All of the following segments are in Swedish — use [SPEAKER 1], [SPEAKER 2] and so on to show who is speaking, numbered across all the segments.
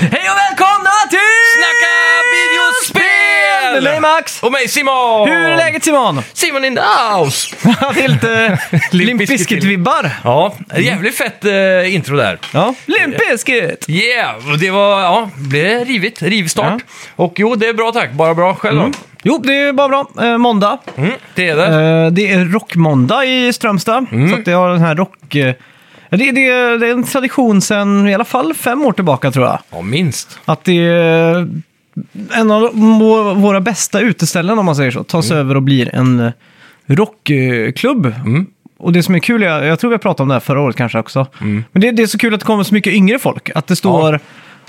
[SPEAKER 1] Hej och välkomna till
[SPEAKER 2] Snacka
[SPEAKER 1] Med mig
[SPEAKER 2] videospel!
[SPEAKER 1] Max!
[SPEAKER 2] Och mig Simon!
[SPEAKER 1] Hur är läget Simon?
[SPEAKER 2] Simon in the house!
[SPEAKER 1] det är lite Limp
[SPEAKER 2] Bizkit.
[SPEAKER 1] Bizkit-vibbar.
[SPEAKER 2] Ja, jävligt fett eh, intro där.
[SPEAKER 1] Ja. Limp Bizkit!
[SPEAKER 2] Yeah, och det var, ja, blev det rivigt, rivstart. Och jo, det är bra tack, bara bra
[SPEAKER 1] Mm.
[SPEAKER 2] själv då.
[SPEAKER 1] Jo, det är bara bra. Eh, måndag.
[SPEAKER 2] mm. Det är det.
[SPEAKER 1] Eh, det är rockmåndag i Strömstad. Så att det har den här rock... eh, Det, det, det är en tradition sedan i alla fall fem år tillbaka tror jag.
[SPEAKER 2] Ja, minst.
[SPEAKER 1] Att det är en av må- våra bästa uteställen om man säger så. Tas
[SPEAKER 2] Mm.
[SPEAKER 1] över och blir en eh, rockklubb.
[SPEAKER 2] Mm.
[SPEAKER 1] Och det som är kul, jag, jag tror vi pratade om det här förra året kanske också.
[SPEAKER 2] Mm.
[SPEAKER 1] Men det, det är så kul att det kommer så mycket yngre folk. Att det står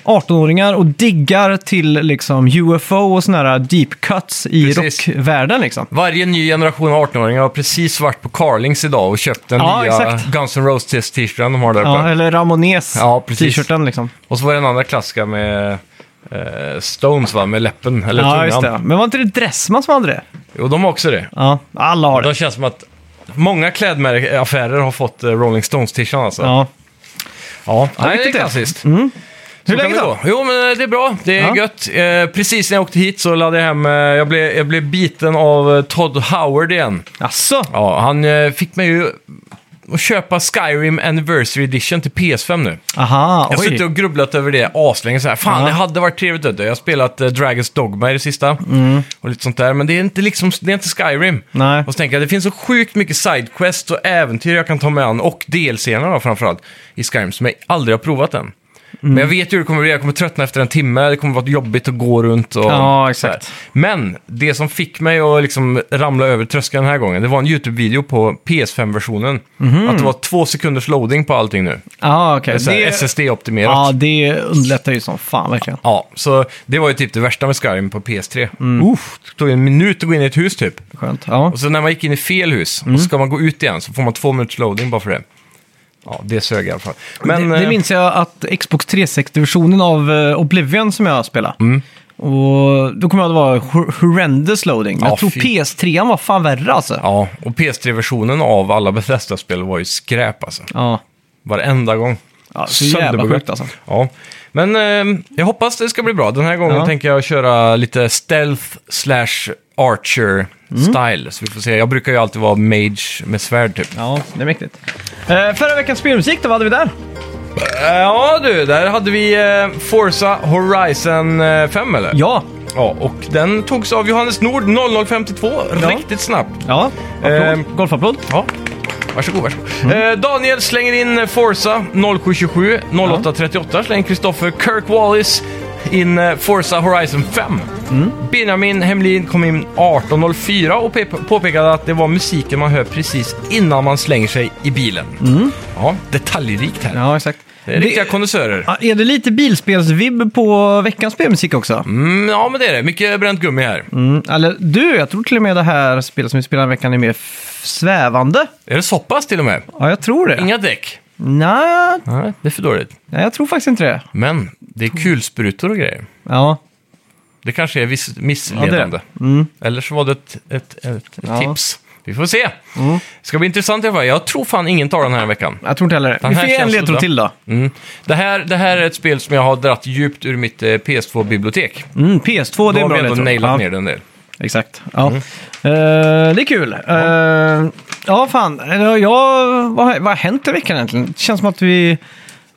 [SPEAKER 1] 18-åringar och diggar till liksom UFO och såna här deep cuts i
[SPEAKER 2] Precis.
[SPEAKER 1] rockvärlden liksom.
[SPEAKER 2] Varje ny generation av 18-åringar har precis varit på Carlings idag och köpt den
[SPEAKER 1] Ja,
[SPEAKER 2] nya
[SPEAKER 1] exakt.
[SPEAKER 2] Guns N' Roses t-shirten de har där
[SPEAKER 1] Ja,
[SPEAKER 2] uppe.
[SPEAKER 1] eller Ramones
[SPEAKER 2] Ja, precis.
[SPEAKER 1] t-shirten liksom.
[SPEAKER 2] Och så var det den andra klassiska med eh, Stones va, med läppen, eller
[SPEAKER 1] Ja, just
[SPEAKER 2] tungan.
[SPEAKER 1] det. Men var inte det Dressman som hade det?
[SPEAKER 2] Jo, de har också det.
[SPEAKER 1] Ja, alla har det.
[SPEAKER 2] De känns som att många klädaffärer har fått eh, Rolling Stones-t-shirten alltså.
[SPEAKER 1] Ja.
[SPEAKER 2] Ja, nej, det är
[SPEAKER 1] riktigt det.
[SPEAKER 2] klassiskt.
[SPEAKER 1] Hur
[SPEAKER 2] Så
[SPEAKER 1] länge
[SPEAKER 2] kan vi
[SPEAKER 1] då?
[SPEAKER 2] Jo, men eh, det är bra. Det är
[SPEAKER 1] Ja.
[SPEAKER 2] gött. Eh, precis när jag åkte hit så laddade jag hem... Eh, jag, blev, jag blev biten av eh, Todd Howard igen.
[SPEAKER 1] Asså?
[SPEAKER 2] Ja, han eh, fick mig ju att köpa Skyrim Anniversary Edition till PS5 nu.
[SPEAKER 1] Aha,
[SPEAKER 2] Jag har suttit och grubblat över det aslänge. Så här, Fan,
[SPEAKER 1] Ja.
[SPEAKER 2] det hade varit trevligt. vet du. Jag har spelat eh, Dragons Dogma i det sista. Och lite sånt där. Men det är inte, liksom, det är inte Skyrim.
[SPEAKER 1] Mm. Nej.
[SPEAKER 2] Och så tänker jag, det finns så sjukt mycket sidequests och äventyr jag kan ta mig an. Och DLC-erna då framförallt. I Skyrim som jag aldrig har provat än. Men
[SPEAKER 1] Mm.
[SPEAKER 2] jag vet ju hur det kommer bli. Jag kommer tröttna efter en timme. Det kommer vara jobbigt att gå runt och
[SPEAKER 1] Ja, exakt.
[SPEAKER 2] så här. Men det som fick mig att liksom ramla över tröskeln den här gången. Det var en YouTube-video på PS5-versionen. Att det var två sekunders loading på allting nu.
[SPEAKER 1] Ja, Ah, okej.
[SPEAKER 2] Så här
[SPEAKER 1] Mhm. Det-
[SPEAKER 2] SSD-optimerat.
[SPEAKER 1] Ja, det underlättar ju som fan verkligen.
[SPEAKER 2] Ja, så det var ju typ det värsta med Skyrim på PS3.
[SPEAKER 1] Mm.
[SPEAKER 2] Uff, det tog en minut att gå in i ett hus typ.
[SPEAKER 1] Skönt. Ja.
[SPEAKER 2] Och så när man gick in i fel hus, och så ska man gå ut igen, så får man två minuters loading bara för det. Ja, det sög i alla fall. Men,
[SPEAKER 1] det, det
[SPEAKER 2] eh,
[SPEAKER 1] minns jag att Xbox 360-versionen av eh, Oblivion som jag spelade.
[SPEAKER 2] Mm.
[SPEAKER 1] Och då kommer jag att vara hor- horrendous loading. Men
[SPEAKER 2] Ja,
[SPEAKER 1] jag tror
[SPEAKER 2] fy.
[SPEAKER 1] PS3 var fan värre alltså. Ja.
[SPEAKER 2] eh, Ja, och PS3-versionen av alla Bethesda-spel var ju skräp alltså.
[SPEAKER 1] ja.
[SPEAKER 2] Varenda gång.
[SPEAKER 1] så jävla
[SPEAKER 2] Sönderbuggat.
[SPEAKER 1] sjukt alltså.
[SPEAKER 2] Ja, men eh, jag hoppas det ska bli bra. Den här gången
[SPEAKER 1] Ja.
[SPEAKER 2] tänker jag köra lite stealth slash archer style. Så vi får se. Jag brukar ju alltid vara mage med svärd typ.
[SPEAKER 1] Ja, det är mäktigt. Eh, förra veckans spelmusik, då vad hade vi där?
[SPEAKER 2] Ja du, där hade vi eh, Forza Horizon eh, 5 eller?
[SPEAKER 1] Ja.
[SPEAKER 2] Ja, och den togs av Johannes Nord 0052
[SPEAKER 1] Ja.
[SPEAKER 2] riktigt snabbt.
[SPEAKER 1] Ja, applåd.
[SPEAKER 2] Ehm.
[SPEAKER 1] golfapplåd.
[SPEAKER 2] Ja. Varsågod, varsågod. Eh, Daniel slänger in eh, Forza 0727, 0838 slänger Kristoffer Kirk Wallis in eh, Forza Horizon 5. Mm. Benjamin Hemlin kom in 1804 och pe- påpekade att det var musiken man hör precis innan man slänger sig i bilen. Ja, detaljrikt här.
[SPEAKER 1] Ja, exakt.
[SPEAKER 2] Det är riktiga
[SPEAKER 1] Det-
[SPEAKER 2] kondensörer.
[SPEAKER 1] Ja, är det lite bilspelsvibb på veckans spelmusik också?
[SPEAKER 2] Mm, ja, men det är det. Mycket bränt gummi här.
[SPEAKER 1] Mm, eller du, jag tror till och med det här spelet som vi spelar i veckan är mer f- svävande.
[SPEAKER 2] Är det så pass till och med?
[SPEAKER 1] Ja, jag tror det.
[SPEAKER 2] Inga däck?
[SPEAKER 1] Nej,
[SPEAKER 2] Nej, det är för dåligt.
[SPEAKER 1] nej, jag tror faktiskt inte det.
[SPEAKER 2] Men det är kulsprutor och grejer.
[SPEAKER 1] Ja,
[SPEAKER 2] Det kanske är viss missledande. Eller så var det ett, ett, ett
[SPEAKER 1] Mm. Ja. Mm.
[SPEAKER 2] tips. Vi får se. ska bli intressant i alla fall. Jag tror fan ingen tar den här veckan.
[SPEAKER 1] jag tror inte heller det.
[SPEAKER 2] Den
[SPEAKER 1] Vi
[SPEAKER 2] här
[SPEAKER 1] får ge en
[SPEAKER 2] känns
[SPEAKER 1] ledtråd
[SPEAKER 2] bra.
[SPEAKER 1] till då.
[SPEAKER 2] Mm. Det, här, det här är ett spel som jag har dratt djupt ur mitt eh, PS2-bibliotek.
[SPEAKER 1] Mm, PS2, det
[SPEAKER 2] Då
[SPEAKER 1] är
[SPEAKER 2] har
[SPEAKER 1] bra
[SPEAKER 2] vi ändå
[SPEAKER 1] ledtråd.
[SPEAKER 2] nailat
[SPEAKER 1] ja,
[SPEAKER 2] ner Mm. den en del.
[SPEAKER 1] Exakt. Ja. Eh, det är kul. Ja, ja fan. Eller Jag, vad, har- vad har hänt i veckan egentligen? Det känns som att vi...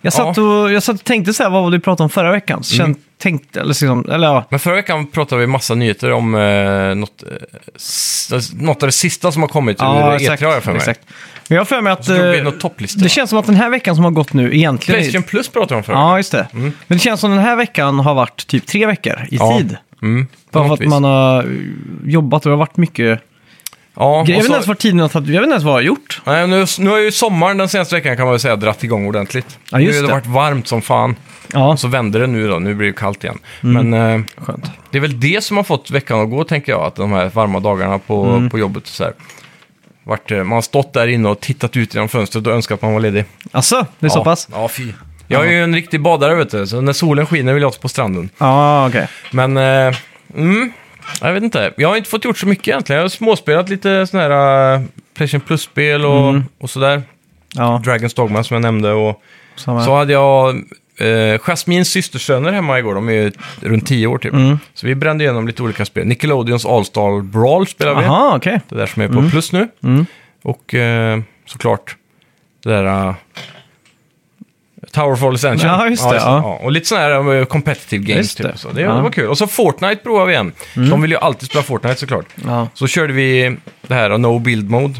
[SPEAKER 1] Jag satt,
[SPEAKER 2] Ja. Mm.
[SPEAKER 1] och, jag satt och tänkte så här, vad var det vi pratade om förra veckan? Så känn- tänkte, eller, liksom, eller ja,
[SPEAKER 2] Men förra veckan pratade vi massa nyheter om eh, något, eh, s- alltså, något av det sista som har kommit ur E3 har jag för mig.
[SPEAKER 1] exakt. Men jag har för mig att...
[SPEAKER 2] Så drog vi
[SPEAKER 1] eh,
[SPEAKER 2] något topplista.
[SPEAKER 1] Det känns som att den här veckan som har gått nu egentligen...
[SPEAKER 2] Playstation Plus pratade vi om förra
[SPEAKER 1] Ja, just det. Men det känns som den här veckan har varit typ tre veckor i
[SPEAKER 2] Ja,
[SPEAKER 1] tid.
[SPEAKER 2] Mm, på
[SPEAKER 1] Bara för
[SPEAKER 2] något
[SPEAKER 1] att
[SPEAKER 2] vis.
[SPEAKER 1] man har eh, jobbat och det har varit mycket...
[SPEAKER 2] ja, och
[SPEAKER 1] Jag vet
[SPEAKER 2] så-
[SPEAKER 1] inte ens var tiden har tagit... Jag vet inte ens vad jag har gjort.
[SPEAKER 2] Nej, nu, nu har ju sommaren den senaste veckan kan man väl säga dratt igång ordentligt.
[SPEAKER 1] Ja,
[SPEAKER 2] nu
[SPEAKER 1] just
[SPEAKER 2] har det
[SPEAKER 1] det.
[SPEAKER 2] varit varmt som fan.
[SPEAKER 1] Ja,
[SPEAKER 2] Och så vänder det nu då, nu blir det kallt igen.
[SPEAKER 1] Mm.
[SPEAKER 2] Men eh,
[SPEAKER 1] skönt. Mm.
[SPEAKER 2] det är väl det som har fått veckan att gå tänker jag, att de här varma dagarna på, på jobbet och så här. Vart, eh, man har stått där inne och tittat ut genom fönstret och önskat att man var ledig.
[SPEAKER 1] Alltså, det är så
[SPEAKER 2] ja.
[SPEAKER 1] pass?
[SPEAKER 2] Ja, fy. Jag är ju en riktig badare, vet du, så när solen skiner vill jag vara på stranden.
[SPEAKER 1] Ja, okej.
[SPEAKER 2] Men, eh, mm, jag vet inte. Jag har inte fått gjort så mycket egentligen. Jag har småspelat lite sådana här eh, Playstation Plus-spel och,
[SPEAKER 1] Mm.
[SPEAKER 2] och sådär.
[SPEAKER 1] Ja,
[SPEAKER 2] Dragon's Dogma som jag nämnde och
[SPEAKER 1] samma.
[SPEAKER 2] så hade jag eh, Jasmins systersöner hemma igår. De är ju runt 10 år typ.
[SPEAKER 1] Mm.
[SPEAKER 2] Så vi brände igenom lite olika spel. Nickelodeons All-Star Brawl spelade vi.
[SPEAKER 1] Aha, Mm. okej.
[SPEAKER 2] Det där som är på plus nu. Och eh, såklart det där... eh, Tower Fall Ascension.
[SPEAKER 1] Ja, just det, ja.
[SPEAKER 2] Och lite sådana här eh, competitive games.
[SPEAKER 1] Just
[SPEAKER 2] Typ.
[SPEAKER 1] det.
[SPEAKER 2] Så det,
[SPEAKER 1] Ja. Mm.
[SPEAKER 2] det var kul. Och så Fortnite provade vi igen. De vill ju alltid spela Fortnite såklart.
[SPEAKER 1] Ja.
[SPEAKER 2] Så körde vi det här No Build Mode.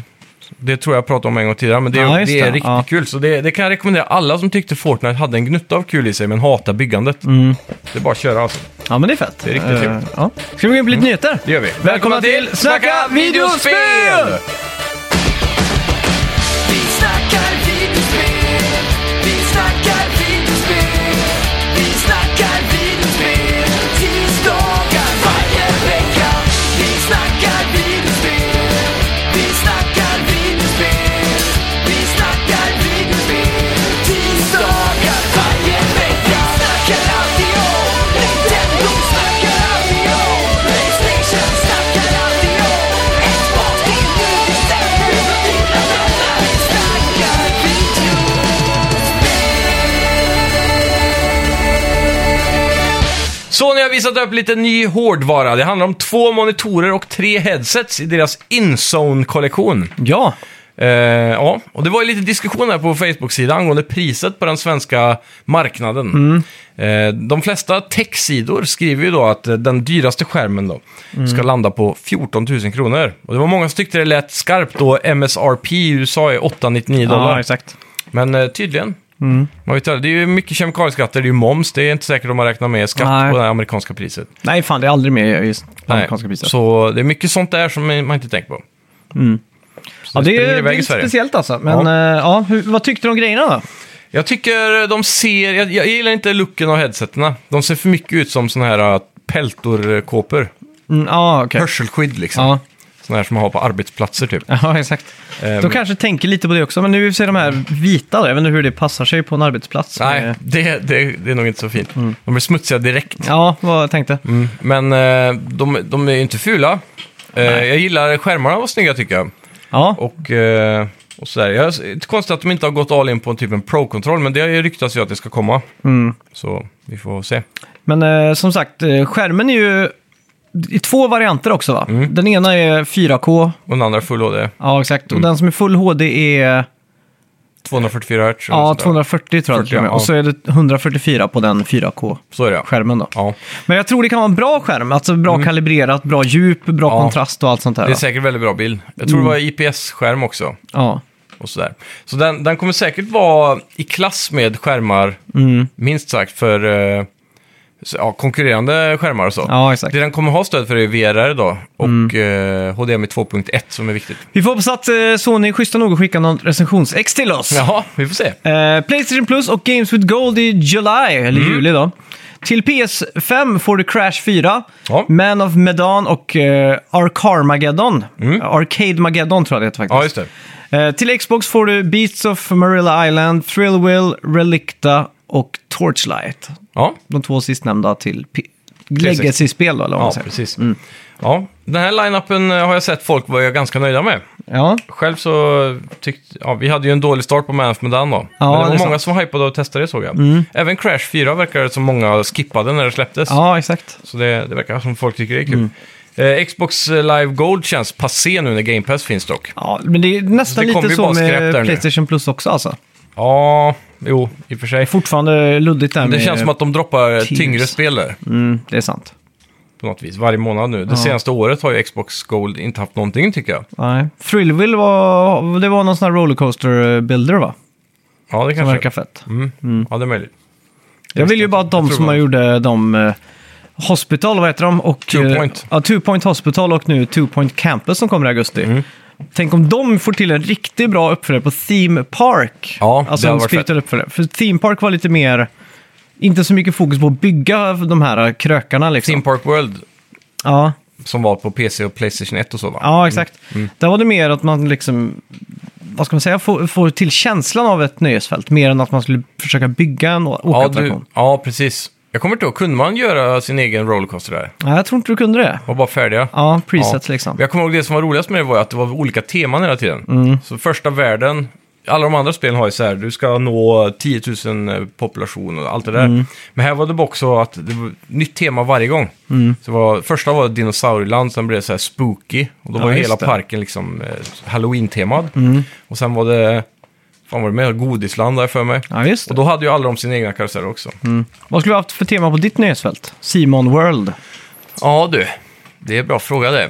[SPEAKER 2] Det tror jag pratade om en gång tidigare, men det, är-
[SPEAKER 1] Ja, just
[SPEAKER 2] det är
[SPEAKER 1] det.
[SPEAKER 2] riktigt
[SPEAKER 1] Ja.
[SPEAKER 2] kul. Så det, det kan jag rekommendera alla som tyckte Fortnite hade en gnutta av kul i sig, men hatar byggandet.
[SPEAKER 1] Mm.
[SPEAKER 2] Det är bara att köra alltså.
[SPEAKER 1] Ja, men det är fett. Det
[SPEAKER 2] är riktigt trevligt. Mm.
[SPEAKER 1] Ja. Ska vi gå in på lite nyheter?
[SPEAKER 2] Det gör vi.
[SPEAKER 1] Välkomna till Snacka videospel!
[SPEAKER 3] Vi snackar videospel, vi snackar videospel, vi snackar videospel, tisdagar varje vecka. Vi snackar videospel, vi snackar videospel, vi snackar videospel, tisdagar varje vecka. Snackar alltid om Nintendo, snackar alltid om Playstation, snackar alltid om Xbox, det är nu vi sänder. Vi snackar video.
[SPEAKER 2] Så nu har jag visat upp lite ny hårdvara. Det handlar om två monitorer och tre headsets i deras InZone-kollektion.
[SPEAKER 1] Ja,
[SPEAKER 2] Eh, ja, och det var ju lite diskussion här på Facebook-sidan angående priset på den svenska marknaden.
[SPEAKER 1] Mm.
[SPEAKER 2] Eh, de flesta tech-sidor skriver ju då att eh, den dyraste skärmen då
[SPEAKER 1] Mm.
[SPEAKER 2] ska landa på 14 000 kronor. Och det var många som tyckte det lät skarpt då MSRP i USA är 899 dollar.
[SPEAKER 1] ja exakt. Mm.
[SPEAKER 2] Men eh, tydligen. Man vet aldrig. det är ju mycket kemikalieskatter, det är ju moms, det är inte säkert om man räknar med skatt
[SPEAKER 1] Nej.
[SPEAKER 2] på det här amerikanska priset.
[SPEAKER 1] Nej, fan det är aldrig mer i
[SPEAKER 2] Nej,
[SPEAKER 1] amerikanska priser.
[SPEAKER 2] Så det är mycket sånt där som man inte tänker på.
[SPEAKER 1] Mm. Ja, det,
[SPEAKER 2] springer
[SPEAKER 1] är, det
[SPEAKER 2] iväg
[SPEAKER 1] är
[SPEAKER 2] i
[SPEAKER 1] lite
[SPEAKER 2] Sverige.
[SPEAKER 1] speciellt alltså. Men ja. ja, hur, vad tyckte du om grejerna då?
[SPEAKER 2] Jag tycker de ser, jag, jag gillar inte looken av headseterna. De ser för mycket ut som såna här äh, peltorkåpor.
[SPEAKER 1] Mm, ja, okej.
[SPEAKER 2] Hörselskydd liksom.
[SPEAKER 1] Ja.
[SPEAKER 2] Såna här som man har på arbetsplatser typ.
[SPEAKER 1] ja, exakt.
[SPEAKER 2] Ehm.
[SPEAKER 1] De kanske tänker lite på det också, men nu ser de här vita då. Jag vet inte hur det passar sig på en arbetsplats.
[SPEAKER 2] Nej,
[SPEAKER 1] Eh,
[SPEAKER 2] det, det, det är nog inte så fint. De blir smutsiga direkt.
[SPEAKER 1] Ja, vad jag tänkte.
[SPEAKER 2] Mm. Men äh, de, de är ju inte fula. Äh, jag gillar skärmarna var snygga tycker jag.
[SPEAKER 1] Ja,
[SPEAKER 2] Och, eh, och sådär. Jag, det är konstigt att de inte har gått all in på en typ en pro-kontroll, men det ryktas ju att det ska komma. Mm. Så vi får se.
[SPEAKER 1] men eh, som sagt, eh, skärmen är ju i två varianter också va?
[SPEAKER 2] Mm.
[SPEAKER 1] Den ena är 4K,
[SPEAKER 2] Och den andra är full HD,
[SPEAKER 1] ja exakt.
[SPEAKER 2] Mm.
[SPEAKER 1] Och den som är full HD är
[SPEAKER 2] 244 Hz. och
[SPEAKER 1] ja,
[SPEAKER 2] sådär.
[SPEAKER 1] 240 tror jag
[SPEAKER 2] 40,
[SPEAKER 1] till och med.
[SPEAKER 2] ja.
[SPEAKER 1] Och så är det 144 på den 4K-skärmen
[SPEAKER 2] Så är det ja.
[SPEAKER 1] då.
[SPEAKER 2] Ja,
[SPEAKER 1] Men jag tror det kan vara en bra skärm. Alltså bra kalibrerat, bra djup, bra
[SPEAKER 2] Mm. Ja.
[SPEAKER 1] kontrast och allt sånt där.
[SPEAKER 2] det är
[SPEAKER 1] va?
[SPEAKER 2] säkert väldigt bra bild. Jag tror det var IPS-skärm också.
[SPEAKER 1] Ja.
[SPEAKER 2] Och sådär. Så den, den kommer säkert vara i klass med skärmar,
[SPEAKER 1] Mm.
[SPEAKER 2] minst sagt, för eh, så- ja, konkurrerande skärmar och så.
[SPEAKER 1] ja, exakt.
[SPEAKER 2] Det den kommer ha stöd för är VRR då, och eh, HDMI 2.1 som är viktigt.
[SPEAKER 1] Vi får hoppas att eh, Sony är schyssta nog att skicka någon recensionsex till oss.
[SPEAKER 2] Jaha, vi får se.
[SPEAKER 1] Eh, Playstation Plus och Games with Gold i July, eller
[SPEAKER 2] Mm.
[SPEAKER 1] juli då. Till PS5 får du Crash 4,
[SPEAKER 2] Ja.
[SPEAKER 1] Man of Medan och eh, Arcarmageddon. Arcade Mageddon tror jag det heter faktiskt.
[SPEAKER 2] Mm. Ja, just det.
[SPEAKER 1] Eh, till Xbox får du Beats of Marilla Island, Thrillwill, Relicta och Torchlight.
[SPEAKER 2] Ja,
[SPEAKER 1] De två sistnämnda till P- Legacy-spel då, eller vad man
[SPEAKER 2] ja
[SPEAKER 1] säger.
[SPEAKER 2] precis. Ja, den här line-upen eh, har jag sett folk vara ganska nöjda med.
[SPEAKER 1] Ja,
[SPEAKER 2] Själv så tyckte, ja vi hade ju en dålig start på Man of Medan då.
[SPEAKER 1] Ja,
[SPEAKER 2] Men det var
[SPEAKER 1] det är Mm.
[SPEAKER 2] många som hypade och testade det såg jag. Även Crash 4 verkar det som många skippade när det släpptes.
[SPEAKER 1] ja Mm. exakt.
[SPEAKER 2] Så det, det verkar som folk tycker det är kul. Eh, Xbox Live Gold känns passé nu när Game Pass finns dock.
[SPEAKER 1] Ja, men det är nästan
[SPEAKER 2] det kommer
[SPEAKER 1] lite
[SPEAKER 2] ju
[SPEAKER 1] så
[SPEAKER 2] bara skräp där
[SPEAKER 1] med
[SPEAKER 2] nu.
[SPEAKER 1] Playstation Plus också alltså.
[SPEAKER 2] Ja, jo, i och för sig.
[SPEAKER 1] Fortfarande luddigt där
[SPEAKER 2] Det
[SPEAKER 1] med...
[SPEAKER 2] känns som att de droppar
[SPEAKER 1] eh, Teams.
[SPEAKER 2] tyngre spel där
[SPEAKER 1] Mm, det är sant.
[SPEAKER 2] på något vis varje månad nu. Det senaste året har ju Xbox Gold inte haft någonting tycker jag.
[SPEAKER 1] Nej. Thrillville var, det var någon sån här rollercoaster-builder va?
[SPEAKER 2] Ja, det
[SPEAKER 1] Som
[SPEAKER 2] kanske...
[SPEAKER 1] verkar fett.
[SPEAKER 2] Mm. Ja, det är möjligt.
[SPEAKER 1] Jag vill ju bara att de
[SPEAKER 2] Jag tror
[SPEAKER 1] som
[SPEAKER 2] det.
[SPEAKER 1] har gjorde de... eh, Hospital, vad heter de? Och,
[SPEAKER 2] Two
[SPEAKER 1] eh,
[SPEAKER 2] Point.
[SPEAKER 1] Ja, Two Point Hospital och nu Two Point Campus som kommer i augusti.
[SPEAKER 2] Mm.
[SPEAKER 1] Tänk om de får till en riktigt bra uppföljare på Theme Park.
[SPEAKER 2] Ja, det
[SPEAKER 1] alltså
[SPEAKER 2] hade
[SPEAKER 1] en
[SPEAKER 2] varit
[SPEAKER 1] spirituell uppföljare. För Theme Park var lite mer... Inte så mycket fokus på att bygga de här eh, krökarna liksom.
[SPEAKER 2] Theme Park World
[SPEAKER 1] Ja,
[SPEAKER 2] som var på PC och Playstation 1 och så va?
[SPEAKER 1] Ja, exakt.
[SPEAKER 2] Mm.
[SPEAKER 1] Där var det mer att man liksom, vad ska man säga, får, får till känslan av ett nöjesfält. Mer än att man skulle försöka bygga en å-
[SPEAKER 2] ja, du,
[SPEAKER 1] åkattraktion.
[SPEAKER 2] ja precis. Jag kommer inte ihåg, kunde man göra sin egen rollercoaster där?
[SPEAKER 1] Nej, jag tror inte du kunde det.
[SPEAKER 2] Var bara färdiga?
[SPEAKER 1] Ja, presets liksom. Mm.
[SPEAKER 2] Men Jag kommer ihåg det som var roligast med det var ju att det var olika teman hela tiden. Så första världen, alla de andra spelen har ju så här, du ska nå 10 000 eh, population och allt det där.
[SPEAKER 1] Mm.
[SPEAKER 2] Men här var det bara också att det var nytt tema varje gång.
[SPEAKER 1] Mm.
[SPEAKER 2] Så det var, första var dinosaurieland, sen blev det så här spooky. Och då
[SPEAKER 1] Ja,
[SPEAKER 2] var ju
[SPEAKER 1] just
[SPEAKER 2] hela
[SPEAKER 1] det. Mm.
[SPEAKER 2] parken liksom eh, halloween-temad. Och sen var det, fan var det mer, godisland där för mig.
[SPEAKER 1] Ja, just
[SPEAKER 2] Och
[SPEAKER 1] det.
[SPEAKER 2] då hade ju alla de sina egna karuseller också.
[SPEAKER 1] Vad skulle du ha haft för tema på ditt nöjesfält? Simon World.
[SPEAKER 2] Ja du, det är en bra fråga det.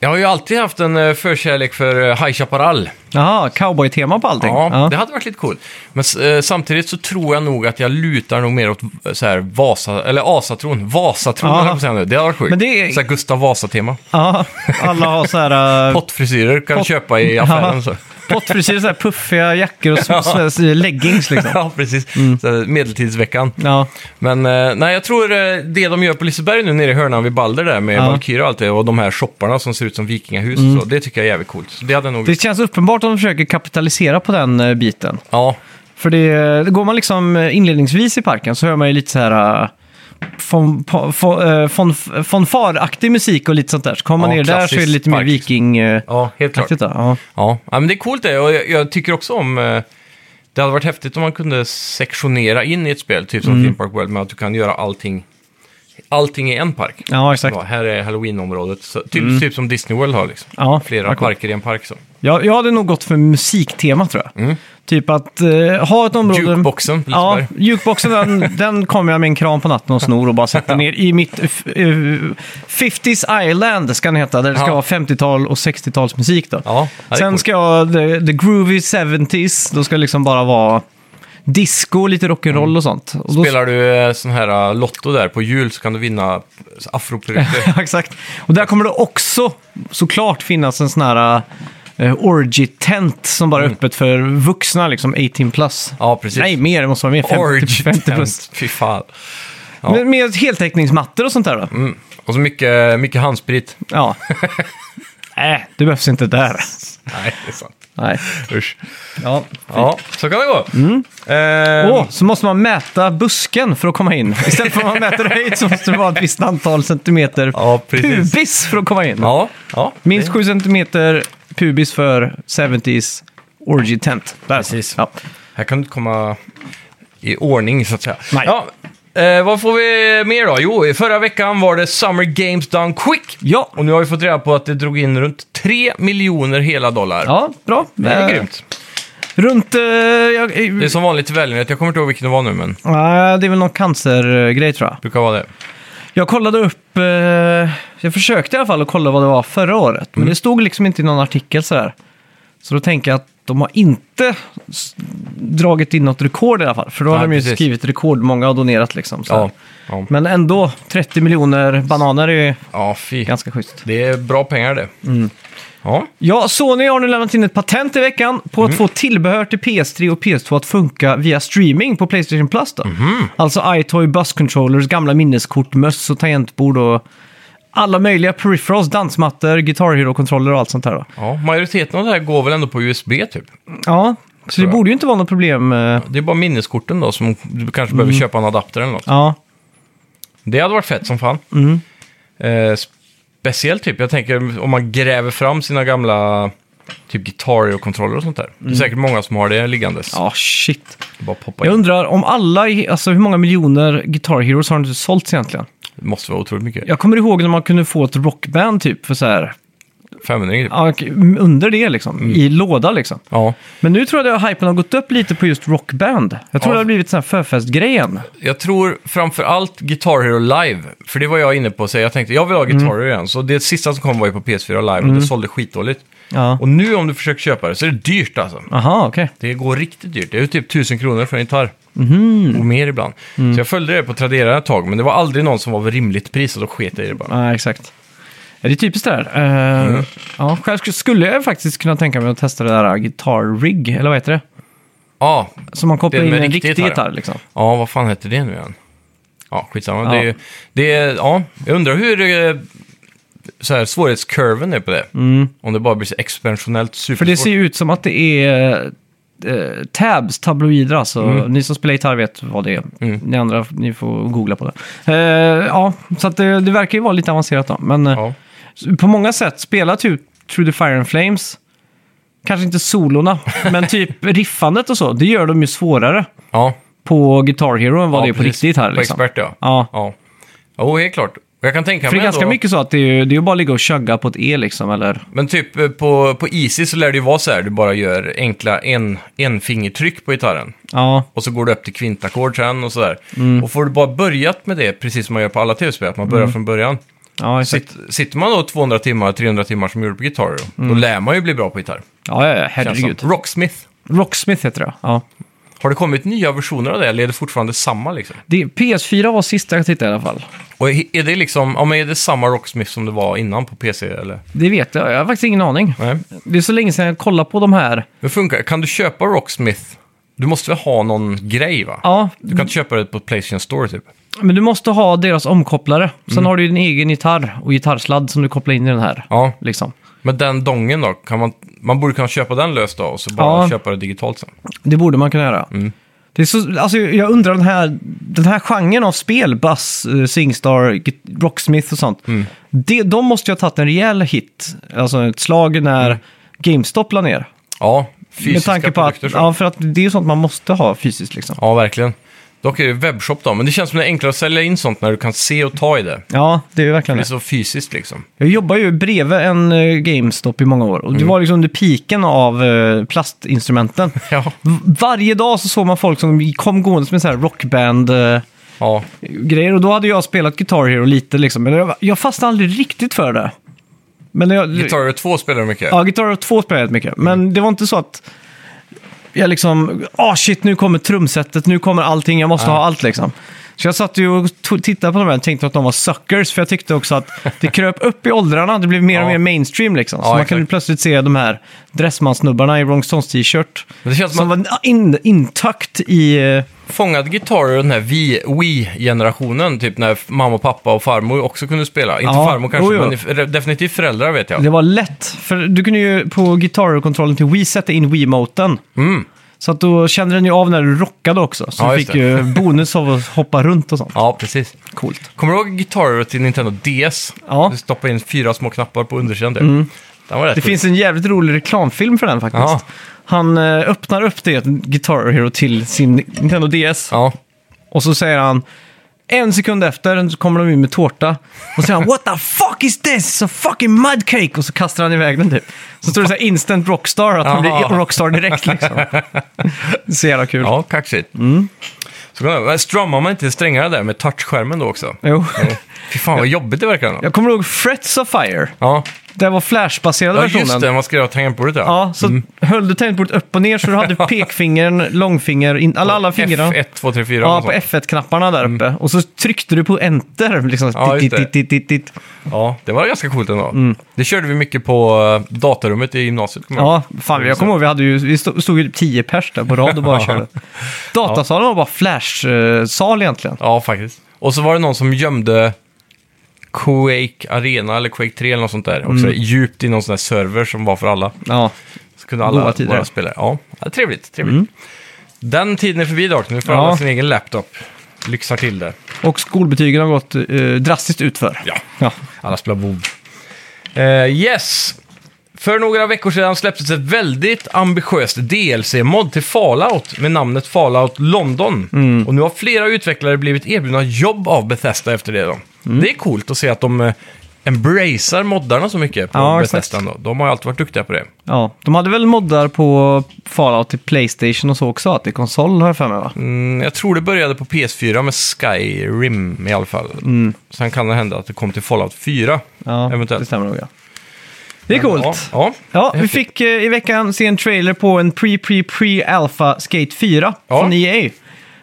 [SPEAKER 2] Jag har ju alltid haft en eh, förkärlek för eh, High Chaparral.
[SPEAKER 1] Jaha, cowboy-tema på allting.
[SPEAKER 2] Ja, det hade varit lite coolt. Men eh, samtidigt så tror jag nog att jag lutar nog mer åt eh, så här Vasa, eller Asatron, Vasatron
[SPEAKER 1] Ja.
[SPEAKER 2] höll jag på att säga nu. Det hade varit sjukt.
[SPEAKER 1] Men det är-
[SPEAKER 2] Så här Gustav Vasa-tema.
[SPEAKER 1] Ja, alla har så här... eh,
[SPEAKER 2] Pottfrisyrer kan
[SPEAKER 1] Pott-
[SPEAKER 2] du köpa i affären. Så.
[SPEAKER 1] Pottfrisyrer, så här puffiga jackor och
[SPEAKER 2] Ja.
[SPEAKER 1] ja. leggings liksom.
[SPEAKER 2] ja, precis. Så här, medeltidsveckan.
[SPEAKER 1] Ja,
[SPEAKER 2] Men eh, nej, jag tror eh, det de gör på Liseberg nu nere i hörnan vid Balder där med
[SPEAKER 1] Ja. Mm.
[SPEAKER 2] Valkyrie och allt det och de här shopparna som ser ut som vikingahus och så, det tycker jag är jävligt coolt. Så det hade jag nog...
[SPEAKER 1] det känns uppenbart att de försöker kapitalisera på den eh, biten.
[SPEAKER 2] Ja,
[SPEAKER 1] För det, går man liksom inledningsvis i parken så hör man ju lite så här äh, fon- po- fo- äh, fon- fonfaraktig musik och lite sånt där. Så kommer man
[SPEAKER 2] Ja,
[SPEAKER 1] ner där så är det
[SPEAKER 2] klassisk
[SPEAKER 1] lite mer
[SPEAKER 2] park.
[SPEAKER 1] vikingaktigt.
[SPEAKER 2] ja helt klart.
[SPEAKER 1] då. Ja.
[SPEAKER 2] Ja, ja men det är coolt det. Och jag, jag tycker också om... eh, Det hade varit häftigt om man kunde sektionera in i ett spel, typ som
[SPEAKER 1] Mm.
[SPEAKER 2] Theme Park World, med att du kan göra allting, allting i en park.
[SPEAKER 1] ja, exakt. Mm.
[SPEAKER 2] Ja, här är Halloween-området, så, typ, typ som Disney World har liksom.
[SPEAKER 1] Ja,
[SPEAKER 2] Flera
[SPEAKER 1] vad coolt.
[SPEAKER 2] parker i en park så.
[SPEAKER 1] Jag, jag hade nog gått för musiktema tror jag. Typ att eh, ha ett område...
[SPEAKER 2] Mm. Jukeboxen på
[SPEAKER 1] Ja,
[SPEAKER 2] Liseberg.
[SPEAKER 1] jukeboxen den, den kommer jag med en kran på natten och snor och bara sätter ner i mitt... f- eh, 50s Island ska den heta, där det ska
[SPEAKER 2] Ja.
[SPEAKER 1] vara 50-tal och 60-talsmusik då.
[SPEAKER 2] Ja, ja, det är
[SPEAKER 1] Sen
[SPEAKER 2] coolt.
[SPEAKER 1] ska jag, the, the groovy 70s, då ska det liksom bara vara disco och lite rock'n'roll
[SPEAKER 2] Mm.
[SPEAKER 1] och sånt. Och då,
[SPEAKER 2] Spelar du eh, sån här eh, Lotto där på jul så kan du vinna afroperuker.
[SPEAKER 1] Ja, exakt. Och där kommer det också såklart finnas en sån här eh, orgy-tent som bara är öppet för vuxna, liksom 18 plus.
[SPEAKER 2] Mm. Ja, precis.
[SPEAKER 1] Nej, mer, det måste vara mer. 50, 50 plus.
[SPEAKER 2] Orgy-tent, fy fan. Ja.
[SPEAKER 1] Men med heltäckningsmattor och sånt där då?
[SPEAKER 2] Mm. Och så mycket, mycket handsprit.
[SPEAKER 1] Ja. Nej, det behövs inte där.
[SPEAKER 2] Nej, det är sant.
[SPEAKER 1] Nej.
[SPEAKER 2] Usch.
[SPEAKER 1] Ja.
[SPEAKER 2] Ja, så kan det gå. Eh,
[SPEAKER 1] Mm. Åh, så måste man mäta busken för att komma in. Istället för att man mäter höjd så måste det vara ett visst antal centimeter
[SPEAKER 2] Ja, precis.
[SPEAKER 1] pubis för att komma in.
[SPEAKER 2] Ja, ja.
[SPEAKER 1] Minst 7 centimeter pubis för 70s orgy tent. Där.
[SPEAKER 2] Precis.
[SPEAKER 1] Ja.
[SPEAKER 2] Här kan du inte komma i ordning så att säga.
[SPEAKER 1] Nej.
[SPEAKER 2] Ja, eh, vad får vi mer då? Jo, i förra veckan var det Summer Games Done Quick.
[SPEAKER 1] Ja.
[SPEAKER 2] Och nu har vi fått reda på att det drog in runt 3 miljoner hela dollar.
[SPEAKER 1] ja, bra.
[SPEAKER 2] Det är
[SPEAKER 1] Eh,
[SPEAKER 2] grymt.
[SPEAKER 1] Runt... eh, jag, eh,
[SPEAKER 2] Det är som vanligt i välgörenhet. Jag kommer inte ihåg vilken det var nu, men det
[SPEAKER 1] nej, det är väl någon cancergrej tror jag.
[SPEAKER 2] brukar vara det.
[SPEAKER 1] Jag kollade upp, eh, jag försökte i alla fall att kolla vad det var förra året,
[SPEAKER 2] Mm.
[SPEAKER 1] men det stod liksom inte i någon artikel sådär. Så då tänker jag att de har inte s- dragit in något rekord i alla fall, för då har
[SPEAKER 2] Nej,
[SPEAKER 1] de ju
[SPEAKER 2] precis.
[SPEAKER 1] skrivit rekordmånga och donerat liksom. Så
[SPEAKER 2] Ja.
[SPEAKER 1] här.
[SPEAKER 2] Ja.
[SPEAKER 1] Men ändå, 30 miljoner bananer är ju
[SPEAKER 2] ja, Mm. fy.
[SPEAKER 1] ganska schysst.
[SPEAKER 2] Det är bra pengar det. Ja,
[SPEAKER 1] Ja, Sony har nu lämnat in ett patent i veckan på att få tillbehör till PS3 och PS2 att funka via streaming på Playstation Plus. Då. Alltså iToy, Bus Controllers, gamla minneskort, möss och tangentbord och alla möjliga peripherals, dansmattor, Guitar Hero-kontroller och allt sånt där. Då.
[SPEAKER 2] ja, majoriteten av det här går väl ändå på USB typ.
[SPEAKER 1] Ja, så det
[SPEAKER 2] jag.
[SPEAKER 1] borde ju inte vara något problem. eh,
[SPEAKER 2] Det är bara minneskorten då som du kanske behöver köpa en adapter eller något.
[SPEAKER 1] Ja,
[SPEAKER 2] Det hade varit fett som fan.
[SPEAKER 1] Mm.
[SPEAKER 2] Eh, speciellt typ, jag tänker om man gräver fram sina gamla typ gitarrer och kontroller och sånt där. Det är säkert många som har det liggandes.
[SPEAKER 1] Mm. ja shit.
[SPEAKER 2] Bara poppa
[SPEAKER 1] Jag
[SPEAKER 2] in.
[SPEAKER 1] undrar om alla, i- alltså hur många miljoner Guitar Heroes har inte sålts egentligen?
[SPEAKER 2] Det måste vara otroligt mycket.
[SPEAKER 1] Jag kommer ihåg när man kunde få ett rockband typ för så här,
[SPEAKER 2] 500 typ. Ja.
[SPEAKER 1] ja, under det liksom, i låda liksom. Men nu tror jag att hypen har gått upp lite på just rockband. Jag tror
[SPEAKER 2] Ja.
[SPEAKER 1] det har blivit sån här förfestgrejen.
[SPEAKER 2] Jag tror framför allt Guitar Hero Live, för det var jag inne på. Så jag tänkte, jag vill ha Guitar
[SPEAKER 1] Mm.
[SPEAKER 2] Hero igen. Så det sista som kom var ju på PS4 Live och det sålde skitdåligt.
[SPEAKER 1] Ja.
[SPEAKER 2] Och nu om du försöker köpa det så är det dyrt alltså.
[SPEAKER 1] Aha, okej.
[SPEAKER 2] Det går riktigt dyrt. Det är ju typ 1000 kronor för en gitarr.
[SPEAKER 1] Mhm.
[SPEAKER 2] Och mer ibland.
[SPEAKER 1] Mm.
[SPEAKER 2] Så jag följde det på Tradera ett tag, men det var aldrig någon som var vid rimligt pris och då sket jag i det bara.
[SPEAKER 1] Ja, exakt. Ja, det är typiskt det här. Eh,
[SPEAKER 2] Mm.
[SPEAKER 1] ja, själv sk- skulle jag faktiskt kunna tänka mig att testa det där Guitar Rig, eller vad heter det?
[SPEAKER 2] Ja,
[SPEAKER 1] Som man kopplar
[SPEAKER 2] Det är
[SPEAKER 1] in
[SPEAKER 2] med
[SPEAKER 1] en
[SPEAKER 2] riktig
[SPEAKER 1] riktig
[SPEAKER 2] gitarr,
[SPEAKER 1] gitarr.
[SPEAKER 2] ja.
[SPEAKER 1] liksom.
[SPEAKER 2] ja vad fan hette det nu igen? Ja, skitsamma.
[SPEAKER 1] Ja.
[SPEAKER 2] Det är, ju- det är, ja, jag undrar hur eh, så här svårighetskurven är på det. Om det bara blir så
[SPEAKER 1] Mm.
[SPEAKER 2] expansionellt
[SPEAKER 1] För
[SPEAKER 2] supersvårt.
[SPEAKER 1] det ser ju ut som att det är eh, tabs, tabloider alltså.
[SPEAKER 2] Mm.
[SPEAKER 1] Ni som spelar gitarr vet vad det är. Ni andra, ni får googla på det. Eh, ja, så att det, det verkar ju vara lite avancerat då. Men eh,
[SPEAKER 2] Ja.
[SPEAKER 1] på många sätt, spela typ Through the Fire and Flames. Kanske inte solorna, men typ riffandet och så. Det gör de ju svårare
[SPEAKER 2] ja.
[SPEAKER 1] på Guitar Hero än vad
[SPEAKER 2] Ja,
[SPEAKER 1] det är på
[SPEAKER 2] precis.
[SPEAKER 1] riktigt här.
[SPEAKER 2] På
[SPEAKER 1] Liksom.
[SPEAKER 2] expert, ja.
[SPEAKER 1] Ja.
[SPEAKER 2] Ja, Jo, helt klart. Och Jag kan tänka
[SPEAKER 1] För
[SPEAKER 2] mig
[SPEAKER 1] det är ganska
[SPEAKER 2] ändå-
[SPEAKER 1] mycket så att det är ju det är ju bara att ligga och chugga på ett E liksom, eller?
[SPEAKER 2] Men typ eh, på, på Easy så lär det ju vara så här, du bara gör enkla en, enfingertryck på gitarren.
[SPEAKER 1] Ja,
[SPEAKER 2] Och så går du upp till kvintackord sen och sådär.
[SPEAKER 1] Mm.
[SPEAKER 2] Och får du bara börjat med det, precis som man gör på alla tv-spel, att man börjar från början.
[SPEAKER 1] ja Mm. exakt.
[SPEAKER 2] Sitt, sitter man då 200 timmar, 300 timmar som gjorde på gitarr, då, då lär man ju bli bra på gitarr.
[SPEAKER 1] Ja, ja, ja,
[SPEAKER 2] känns
[SPEAKER 1] Mm. herregud.
[SPEAKER 2] som. Rocksmith.
[SPEAKER 1] Rocksmith heter det, ja.
[SPEAKER 2] Har det kommit nya versioner av det, eller är det fortfarande samma liksom?
[SPEAKER 1] Det, PS4 var sista jag tittade i alla fall.
[SPEAKER 2] Och är är det liksom, ja men är det samma Rocksmith som det var innan på PC eller?
[SPEAKER 1] Det vet jag, jag har faktiskt ingen aning.
[SPEAKER 2] Nej.
[SPEAKER 1] Det är så länge sedan jag kollade på de här.
[SPEAKER 2] Hur funkar det? Kan du köpa Rocksmith? Du måste väl ha någon grej va?
[SPEAKER 1] Ja,
[SPEAKER 2] Du kan inte köpa det på Playstation Store typ?
[SPEAKER 1] men du måste ha deras omkopplare. Sen
[SPEAKER 2] Mm.
[SPEAKER 1] har du ju din egen gitarr och gitarrsladd som du kopplar in i den här.
[SPEAKER 2] Ja,
[SPEAKER 1] Liksom.
[SPEAKER 2] men den dongen då? Kan man, man borde kunna köpa den löst då och så bara
[SPEAKER 1] Ja.
[SPEAKER 2] köpa det digitalt sen.
[SPEAKER 1] Det borde man kunna göra.
[SPEAKER 2] Mm.
[SPEAKER 1] Det är så, alltså, jag undrar den här, den här genren av spel, Buzz, eh, Singstar, Git- Rocksmith och sånt.
[SPEAKER 2] Mm.
[SPEAKER 1] Det, de måste ju ha tagit en rejäl hit, alltså ett slag när GameStop la ner.
[SPEAKER 2] Ja, Mm. fysiska
[SPEAKER 1] Med tanke på
[SPEAKER 2] produkter
[SPEAKER 1] att,
[SPEAKER 2] så. Ja.
[SPEAKER 1] ja, för att det är ju sånt man måste ha fysiskt liksom.
[SPEAKER 2] verkligen. Dock är det webbshop då, men det känns som det är enklare att sälja in sånt när du kan se och ta i det.
[SPEAKER 1] Ja, det är ju verkligen
[SPEAKER 2] Det är
[SPEAKER 1] det.
[SPEAKER 2] så fysiskt liksom.
[SPEAKER 1] Jag jobbade ju bredvid en eh, GameStop i många år och det
[SPEAKER 2] Mm.
[SPEAKER 1] var liksom under piken av eh, plastinstrumenten.
[SPEAKER 2] Ja,
[SPEAKER 1] V- Varje dag så såg man folk som kom gående med så här eh, rockband-grejer
[SPEAKER 2] ja.
[SPEAKER 1] och då hade jag spelat Guitar Hero lite liksom. Men jag, jag fastnade aldrig riktigt för det. Men jag,
[SPEAKER 2] Guitar Mm. Hero 2 spelar du mycket.
[SPEAKER 1] Ja, Guitar Hero 2 spelade jag rätt mycket. Men det var inte så att jag liksom, ah shit nu kommer trumsetet, nu kommer allting, jag måste ha allt liksom. Så jag satt ju och to- tittade på de här och tänkte att de var suckers, för jag tyckte också att det kröp upp i åldrarna, det blev mer och
[SPEAKER 2] Ja.
[SPEAKER 1] mer mainstream liksom. Så
[SPEAKER 2] Ja,
[SPEAKER 1] man
[SPEAKER 2] exakt.
[SPEAKER 1] kunde plötsligt se de här dressmansnubbarna i Rolling Stones t-shirt.
[SPEAKER 2] Men det känns som
[SPEAKER 1] Som var in, intakt i... eh,
[SPEAKER 2] fångad gitarr ur den här Vi- Wii-generationen, typ när mamma, pappa och farmor också kunde spela. Inte
[SPEAKER 1] Ja,
[SPEAKER 2] farmor kanske,
[SPEAKER 1] jo, jo.
[SPEAKER 2] men f- definitivt föräldrar vet jag.
[SPEAKER 1] Det var lätt, för du kunde ju på Guitar Hero-kontrollen till Wii sätta in Wiimoten. Så att då kände den ju av när du rockade också. Så
[SPEAKER 2] Mm. Ja,
[SPEAKER 1] du
[SPEAKER 2] just
[SPEAKER 1] fick ju bonus av att hoppa runt och sånt.
[SPEAKER 2] Ja, precis.
[SPEAKER 1] Coolt.
[SPEAKER 2] Kommer du ihåg Guitar Hero till Nintendo DS?
[SPEAKER 1] Ja. Mm.
[SPEAKER 2] Du stoppade in fyra små knappar på undersidan. typ. Den var rätt
[SPEAKER 1] Det finns en jävligt rolig reklamfilm för den faktiskt.
[SPEAKER 2] Ja.
[SPEAKER 1] Han eh, öppnar upp det Guitar Hero till sin Nintendo DS
[SPEAKER 2] Ja.
[SPEAKER 1] och så säger han en sekund efter så kommer de in med tårta och säger han “What the fuck is this? A fucking mudcake!” och så kastar han iväg den typ. Så står det så här instant rockstar, att han
[SPEAKER 2] Jaha.
[SPEAKER 1] blir rockstar direkt liksom. Så jävla kul.
[SPEAKER 2] ja, kaxigt.
[SPEAKER 1] Mm.
[SPEAKER 2] Så kan det- men strömmar man inte strängarna där med touchskärmen då också?
[SPEAKER 1] Jo.
[SPEAKER 2] Fy fan vad jobbigt det verkar. ändå.
[SPEAKER 1] Jag kommer ihåg Frets of Fire.
[SPEAKER 2] Ja,
[SPEAKER 1] Det var flashbaserade
[SPEAKER 2] ja
[SPEAKER 1] versionen.
[SPEAKER 2] just det. Mm. Man skrev av tangentbordet där.
[SPEAKER 1] Ja, så höll du tangentbordet upp och ner så du hade pekfingern, långfinger, in, alla, alla fingrarna.
[SPEAKER 2] F1, 2, 3, 4.
[SPEAKER 1] Ja,
[SPEAKER 2] och
[SPEAKER 1] på
[SPEAKER 2] sånt. Mm.
[SPEAKER 1] F1-knapparna där uppe. Och så tryckte du på enter. Liksom,
[SPEAKER 2] Ja,
[SPEAKER 1] dit,
[SPEAKER 2] just
[SPEAKER 1] dit, dit, dit, dit.
[SPEAKER 2] ja, det var ganska coolt ändå.
[SPEAKER 1] Mm.
[SPEAKER 2] Det körde vi mycket på eh, datarummet i gymnasiet. kommer jag ihåg.
[SPEAKER 1] Ja, fan, jag kommer ihåg vi, hade ju, vi stod, stod ju tio pers där på rad och bara
[SPEAKER 2] Ja.
[SPEAKER 1] körde. Datasalen var bara flash-sal egentligen.
[SPEAKER 2] Ja, faktiskt. Och så var det någon som gömde Quake Arena eller Quake 3 eller något sånt där.
[SPEAKER 1] Mm.
[SPEAKER 2] Också djupt i någon sån där server som var för alla.
[SPEAKER 1] Ja,
[SPEAKER 2] Så kunde
[SPEAKER 1] Goa
[SPEAKER 2] alla
[SPEAKER 1] tider. Mm.
[SPEAKER 2] våra spelare. Ja, ja trevligt. trevligt. Den tiden är förbi dock. Nu får
[SPEAKER 1] Ja.
[SPEAKER 2] alla sin egen laptop. Lyxar till det.
[SPEAKER 1] och skolbetygen har gått eh, drastiskt utför.
[SPEAKER 2] Ja.
[SPEAKER 1] Ja.
[SPEAKER 2] Alla spelar WoW. Eh, yes! För några veckor sedan släpptes ett väldigt ambitiöst DLC-mod till Fallout med namnet Fallout London.
[SPEAKER 1] Mm.
[SPEAKER 2] Och nu har flera utvecklare blivit erbjudna jobb av Bethesda efter det. Då.
[SPEAKER 1] Mm.
[SPEAKER 2] Det är coolt att se att de eh, embracear moddarna så mycket på
[SPEAKER 1] Ja,
[SPEAKER 2] Bethesda. Då. De har ju alltid varit duktiga på det.
[SPEAKER 1] ja. De hade väl moddar på Fallout till Playstation och så också, att det är konsol har jag för mig va?
[SPEAKER 2] Mm, jag tror det började på PS4 med Skyrim i alla fall. Sen kan det hända att det kom till Fallout 4.
[SPEAKER 1] Mm. Ja,
[SPEAKER 2] eventuellt.
[SPEAKER 1] det stämmer nog ja. Det är coolt.
[SPEAKER 2] Ja, ja.
[SPEAKER 1] Ja, vi fick eh, i veckan se en trailer på en pre-pre-pre-alpha Skate 4
[SPEAKER 2] Ja.
[SPEAKER 1] från EA.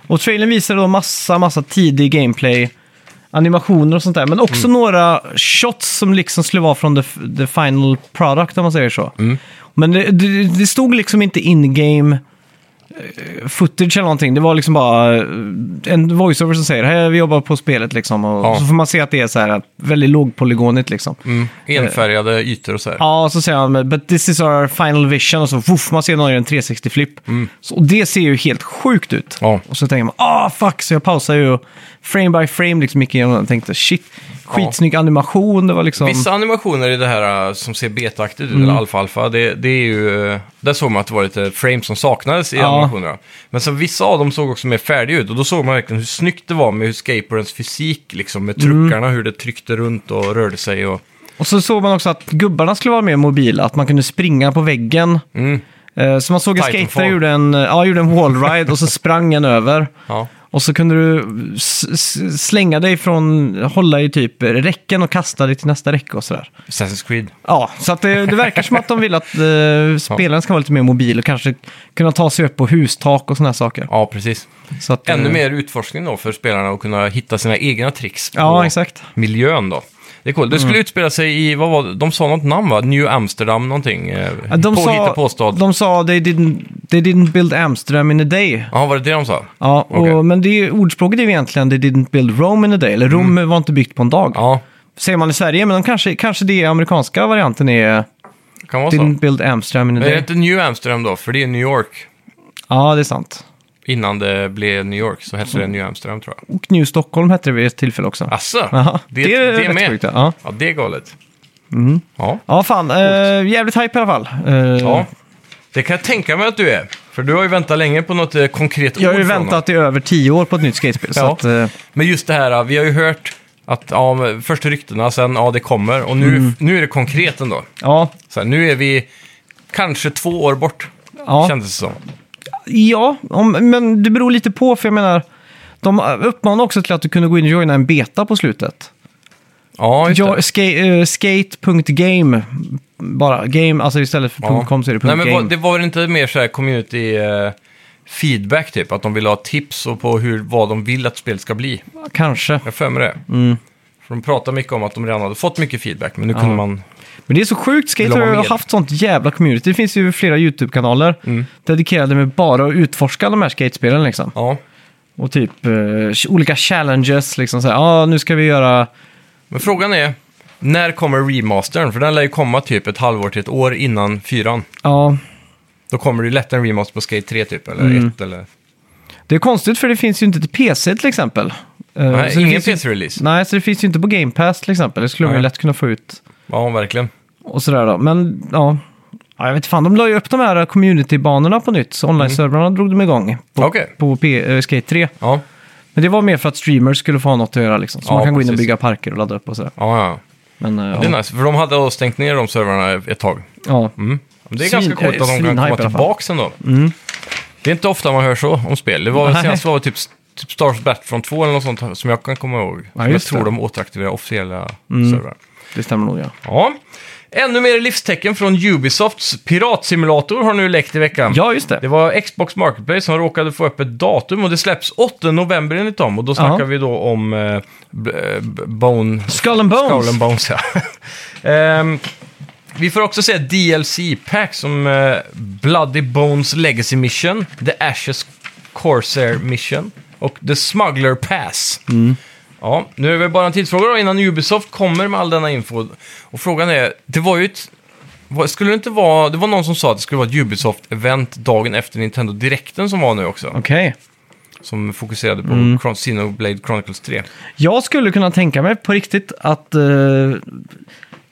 [SPEAKER 1] Och trailern visade då massa, massa tidig gameplay, animationer och sånt där. Men också
[SPEAKER 2] Mm.
[SPEAKER 1] några shots som liksom skulle vara från the, f- the
[SPEAKER 2] Mm.
[SPEAKER 1] final product om man säger så. Men det, det, det stod liksom inte in-game eh, footage eller någonting. Det var liksom bara eh, en voiceover som säger hej vi jobbar på spelet liksom. Och
[SPEAKER 2] Ja.
[SPEAKER 1] så får man se att det är så här väldigt lågpolygonigt liksom.
[SPEAKER 2] Mm. Enfärgade ytor och så här.
[SPEAKER 1] Ja, och så säger han “But this is our final vision” och så woof, man ser någon göra en 360-flipp. Så och det ser ju helt sjukt ut.
[SPEAKER 2] Mm. Ja.
[SPEAKER 1] Och så tänker man “Ah, fuck!” Så jag pausar ju och frame by frame liksom gick igenom den och tänkte “Shit, skitsnygg animation”. Det var liksom...
[SPEAKER 2] Vissa animationer i det här äh, som ser betaaktigt ut,
[SPEAKER 1] Mm.
[SPEAKER 2] eller alfa-alfa, det, det är ju... äh, Där såg man att det var lite frames som saknades i
[SPEAKER 1] Ja.
[SPEAKER 2] animationerna. Men sen vissa av dem såg också mer färdiga ut och då såg man verkligen hur snyggt det var med hur skateboardens fysik, liksom med
[SPEAKER 1] Mm.
[SPEAKER 2] truckarna, hur det tryckte runt och rörde sig och...
[SPEAKER 1] Och så såg man också att gubbarna skulle vara mer mobila, att man kunde springa på väggen. Eh, Så man såg en
[SPEAKER 2] Mm. Titanfall.
[SPEAKER 1] skater gjorde en, ja, gjorde en wallride och så sprang en över.
[SPEAKER 2] Ja.
[SPEAKER 1] Och så kunde du s- s- slänga dig från, hålla i typ räcken och kasta dig till nästa räcke och sådär.
[SPEAKER 2] Assassin's Creed.
[SPEAKER 1] Ja, så att eh, det, det verkar som att de vill att eh, spelaren ska vara lite mer mobil och kanske kunna ta sig upp på hustak och sådana här saker.
[SPEAKER 2] Ja, precis.
[SPEAKER 1] Så att, eh,
[SPEAKER 2] Ännu mer utforskning då för spelarna att kunna hitta sina egna tricks på
[SPEAKER 1] Ja, exakt. Mm.
[SPEAKER 2] miljön då. Det är coolt. Det skulle utspela sig i, vad var det? De sa något namn va? New Amsterdam någonting? eh,
[SPEAKER 1] Ja, De sa,
[SPEAKER 2] påstad.
[SPEAKER 1] de sa they didn't, they didn't build Amsterdam in a day.
[SPEAKER 2] Ja, var det det de sa?
[SPEAKER 1] Ja, och,
[SPEAKER 2] Okej.
[SPEAKER 1] men det är, ordspråket är ju egentligen they didn't build Rome in a day, eller Rom var inte byggt på en dag.
[SPEAKER 2] Mm. Ja,
[SPEAKER 1] Säger man i Sverige, men de kanske, kanske det amerikanska varianten är
[SPEAKER 2] det kan vara så.
[SPEAKER 1] didn't build Amsterdam in a
[SPEAKER 2] Alltså. Men är det
[SPEAKER 1] day.
[SPEAKER 2] inte New Amsterdam då? För det är New York.
[SPEAKER 1] Ja, det är sant.
[SPEAKER 2] Innan det blev New York så hette det
[SPEAKER 1] Mm.
[SPEAKER 2] New Amsterdam tror jag.
[SPEAKER 1] Och New Stockholm hette det vid ett tillfälle också.
[SPEAKER 2] Asså?
[SPEAKER 1] Jaha, det är rätt sjukt,
[SPEAKER 2] Ja.
[SPEAKER 1] ja. Mm.
[SPEAKER 2] ja, det är galet. Ja.
[SPEAKER 1] Ja, fan. Eh, jävligt hype i alla fall. Eh,
[SPEAKER 2] ja, det kan jag tänka mig att du är. För du har ju väntat länge på något eh, konkret
[SPEAKER 1] Jag har ju
[SPEAKER 2] ord från dem.
[SPEAKER 1] väntat i över tio år på ett nytt skatespel. Så
[SPEAKER 2] Ja.
[SPEAKER 1] att, eh,
[SPEAKER 2] Men just det här, vi har ju hört att ja, men först ryktena, sen ja, det kommer. Och nu,
[SPEAKER 1] Mm.
[SPEAKER 2] nu är det konkret ändå.
[SPEAKER 1] ja,
[SPEAKER 2] Så här, nu är vi kanske två år bort,
[SPEAKER 1] ja.
[SPEAKER 2] kändes det som.
[SPEAKER 1] ja om, men det beror lite på, för jag menar, de uppmanar också till att du kunde gå in och joina en beta på slutet.
[SPEAKER 2] Ja, just
[SPEAKER 1] Ja,
[SPEAKER 2] det.
[SPEAKER 1] ska, eh, skate.game, bara game, alltså istället för
[SPEAKER 2] Ja.
[SPEAKER 1] .com så är det
[SPEAKER 2] Nej, men
[SPEAKER 1] .game.
[SPEAKER 2] var, det var väl inte mer så här community eh, feedback typ? Att de ville ha tips och på hur, vad de vill att spelet ska bli?
[SPEAKER 1] Kanske.
[SPEAKER 2] Jag har för mig det.
[SPEAKER 1] Mm.
[SPEAKER 2] För de pratade mycket om att de redan hade fått mycket feedback, men nu kunde man...
[SPEAKER 1] Men det är så sjukt,
[SPEAKER 2] Vill
[SPEAKER 1] skate
[SPEAKER 2] de ha
[SPEAKER 1] har
[SPEAKER 2] mer? Mm.
[SPEAKER 1] ju haft sånt jävla community. Det finns ju flera YouTube-kanaler dedikerade med bara att utforska de här skatespelen liksom.
[SPEAKER 2] Ja.
[SPEAKER 1] Och typ eh, olika challenges, liksom såhär, ja ah, nu ska vi göra...
[SPEAKER 2] Men frågan är, när kommer remastern? För den lär ju komma typ ett halvår till ett år innan fyran.
[SPEAKER 1] Ja,
[SPEAKER 2] Då kommer det ju lätt en remaster på Skate 3 typ, eller
[SPEAKER 1] Mm.
[SPEAKER 2] 1 eller...
[SPEAKER 1] det är konstigt för det finns ju inte till PC till exempel. Eh,
[SPEAKER 2] Nej,
[SPEAKER 1] så det
[SPEAKER 2] ingen
[SPEAKER 1] finns ju-
[SPEAKER 2] PC-release.
[SPEAKER 1] Nej, så det finns ju inte på Game Pass till exempel. Det skulle man ju
[SPEAKER 2] Nej.
[SPEAKER 1] lätt kunna få ut
[SPEAKER 2] Ja, verkligen.
[SPEAKER 1] och sådär då. Men ja, ja jag vet fan, de la ju upp de här community-banorna på nytt. Så online-servrarna drog de igång på,
[SPEAKER 2] Mm. Okej.
[SPEAKER 1] på P- eh, Skate 3.
[SPEAKER 2] Ja,
[SPEAKER 1] Men det var mer för att streamers skulle få ha något att göra liksom. Så
[SPEAKER 2] Ja,
[SPEAKER 1] man kan gå in och
[SPEAKER 2] precis.
[SPEAKER 1] bygga parker och ladda upp och sådär.
[SPEAKER 2] ja, ja.
[SPEAKER 1] Men eh,
[SPEAKER 2] Det är
[SPEAKER 1] ja,
[SPEAKER 2] nice, för de hade då stängt ner de servrarna ett tag.
[SPEAKER 1] ja.
[SPEAKER 2] Mm. Men Det är
[SPEAKER 1] Svin-
[SPEAKER 2] ganska coolt att de kan
[SPEAKER 1] svinhype i
[SPEAKER 2] komma
[SPEAKER 1] alla fall. Mm.
[SPEAKER 2] tillbaka sen då. Det är inte ofta man hör så om spel. Det var väl
[SPEAKER 1] Nej.
[SPEAKER 2] senast var det typ, typ Stars Battlefront 2 eller något sånt som jag kan komma ihåg.
[SPEAKER 1] Ja,
[SPEAKER 2] Som jag
[SPEAKER 1] just
[SPEAKER 2] tror
[SPEAKER 1] det. Mm.
[SPEAKER 2] de återaktiverar officiella servrar.
[SPEAKER 1] det stämmer nog ja.
[SPEAKER 2] Ja. Ännu mer livstecken från Ubisofts piratsimulator har nu läckt i veckan.
[SPEAKER 1] Ja, just det.
[SPEAKER 2] Det var Xbox Marketplace som råkade få upp ett datum och det släpps 8 november enligt dem. Och då snackar
[SPEAKER 1] Ja.
[SPEAKER 2] vi då om eh, b- eh, b- Bone...
[SPEAKER 1] Skull and Bones!
[SPEAKER 2] Skull and Bones, ja. Ehm, vi får också se DLC-pack som eh, Bloody Bones Legacy Mission, The Ashes Corsair Mission och The Smuggler Pass. Ja, nu är det bara en tidsfråga då innan Ubisoft kommer med all denna info. Och frågan är, det var ju ett... vad- Skulle det inte vara... Det var någon som sa att det skulle vara ett Ubisoft-event dagen efter Nintendo Direkten som var nu också.
[SPEAKER 1] Okej.
[SPEAKER 2] Som fokuserade på Chron- Xenoblade Chronicles 3.
[SPEAKER 1] Jag skulle kunna tänka mig på riktigt att eh,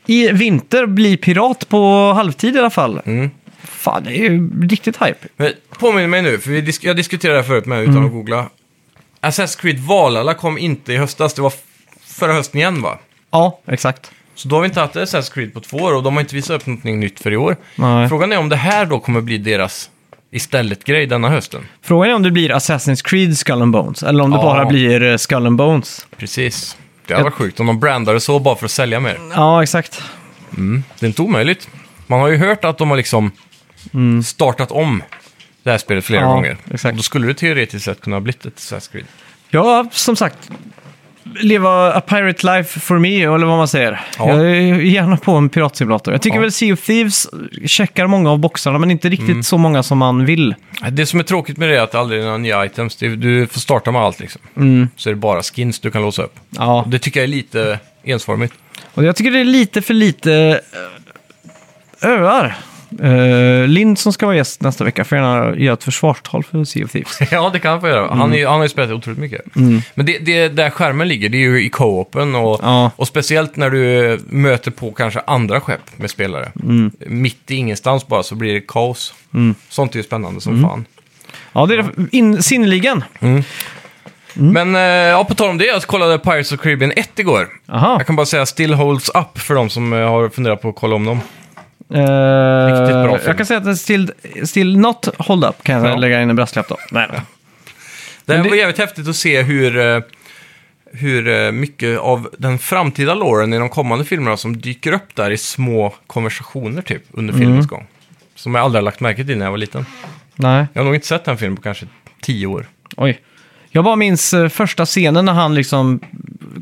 [SPEAKER 1] i vinter bli pirat på halvtid i alla fall. Fan, det är ju riktigt hype.
[SPEAKER 2] Men påminn mig nu, för vi disk jag diskuterade det här förut med utan
[SPEAKER 1] Mm.
[SPEAKER 2] att googla. Assassin's Creed Valhalla kom inte i höstas, det var f- förra hösten igen va?
[SPEAKER 1] Ja, exakt.
[SPEAKER 2] Så då har vi inte haft Assassin's Creed på två år och de har inte visat upp någonting nytt för i år.
[SPEAKER 1] Nej.
[SPEAKER 2] Frågan är om det här då kommer bli deras istället-grej denna hösten.
[SPEAKER 1] Frågan är om det blir Assassin's Creed Skull and Bones eller om det
[SPEAKER 2] Ja.
[SPEAKER 1] bara blir eh, Skull and Bones.
[SPEAKER 2] Precis. Det hade varit sjukt om de brandade så bara för att sälja mer.
[SPEAKER 1] Ja, exakt.
[SPEAKER 2] Det är inte omöjligt. Man har ju hört att de har liksom startat om det här spelet flera
[SPEAKER 1] Mm. Ja,
[SPEAKER 2] gånger.
[SPEAKER 1] exakt.
[SPEAKER 2] Och då skulle det teoretiskt sett kunna ha blivit ett Assassin's Creed.
[SPEAKER 1] Jag har som sagt leva a pirate life for me, eller vad man säger.
[SPEAKER 2] Ja.
[SPEAKER 1] Jag är gärna på en piratsimulator. Jag tycker
[SPEAKER 2] Ja.
[SPEAKER 1] väl Sea of Thieves checkar många av boxarna, men inte riktigt så många som man vill.
[SPEAKER 2] Det som är tråkigt med det är att det aldrig är några nya items. Det- Du får starta med allt liksom. Så är det bara skins du kan låsa upp.
[SPEAKER 1] Ja.
[SPEAKER 2] Och Det tycker jag är lite ensformigt.
[SPEAKER 1] Och jag tycker det är lite för lite eh, öar. Uh, Lind som ska vara gäst nästa vecka får gärna göra ett försvarstal för Sea of Thieves.
[SPEAKER 2] ja, det kan han få göra. Han, är, ju- han har ju spelat otroligt mycket. Men det, det där skärmen ligger, det är ju i co-open och,
[SPEAKER 1] Ja.
[SPEAKER 2] och speciellt när du möter på kanske andra skepp med spelare. Mitt i ingenstans bara så blir det kaos. Sånt är ju spännande som fan.
[SPEAKER 1] Ja, det är det in, sinnerligen.
[SPEAKER 2] Men eh, ja, på tal om det, jag kollade Pirates of Caribbean 1 igår.
[SPEAKER 1] Aha.
[SPEAKER 2] Jag kan bara säga still holds up för de som eh, har funderat på att kolla om dem.
[SPEAKER 1] Eh,
[SPEAKER 2] Riktigt bra film.
[SPEAKER 1] Jag kan säga att den still, still not hold up kan jag
[SPEAKER 2] Ja.
[SPEAKER 1] lägga in en brasklapp då. Nej, nej.
[SPEAKER 2] Det
[SPEAKER 1] Men det-
[SPEAKER 2] var jävligt häftigt att se hur, eh, hur eh, mycket av den framtida loren i de kommande filmerna som dyker upp där i små konversationer typ under
[SPEAKER 1] Mm.
[SPEAKER 2] filmens gång. Som jag aldrig har lagt märke till när jag var liten.
[SPEAKER 1] nej.
[SPEAKER 2] Jag har nog inte sett den filmen på kanske tio år.
[SPEAKER 1] Oj. Jag bara minns eh, första scenen när han liksom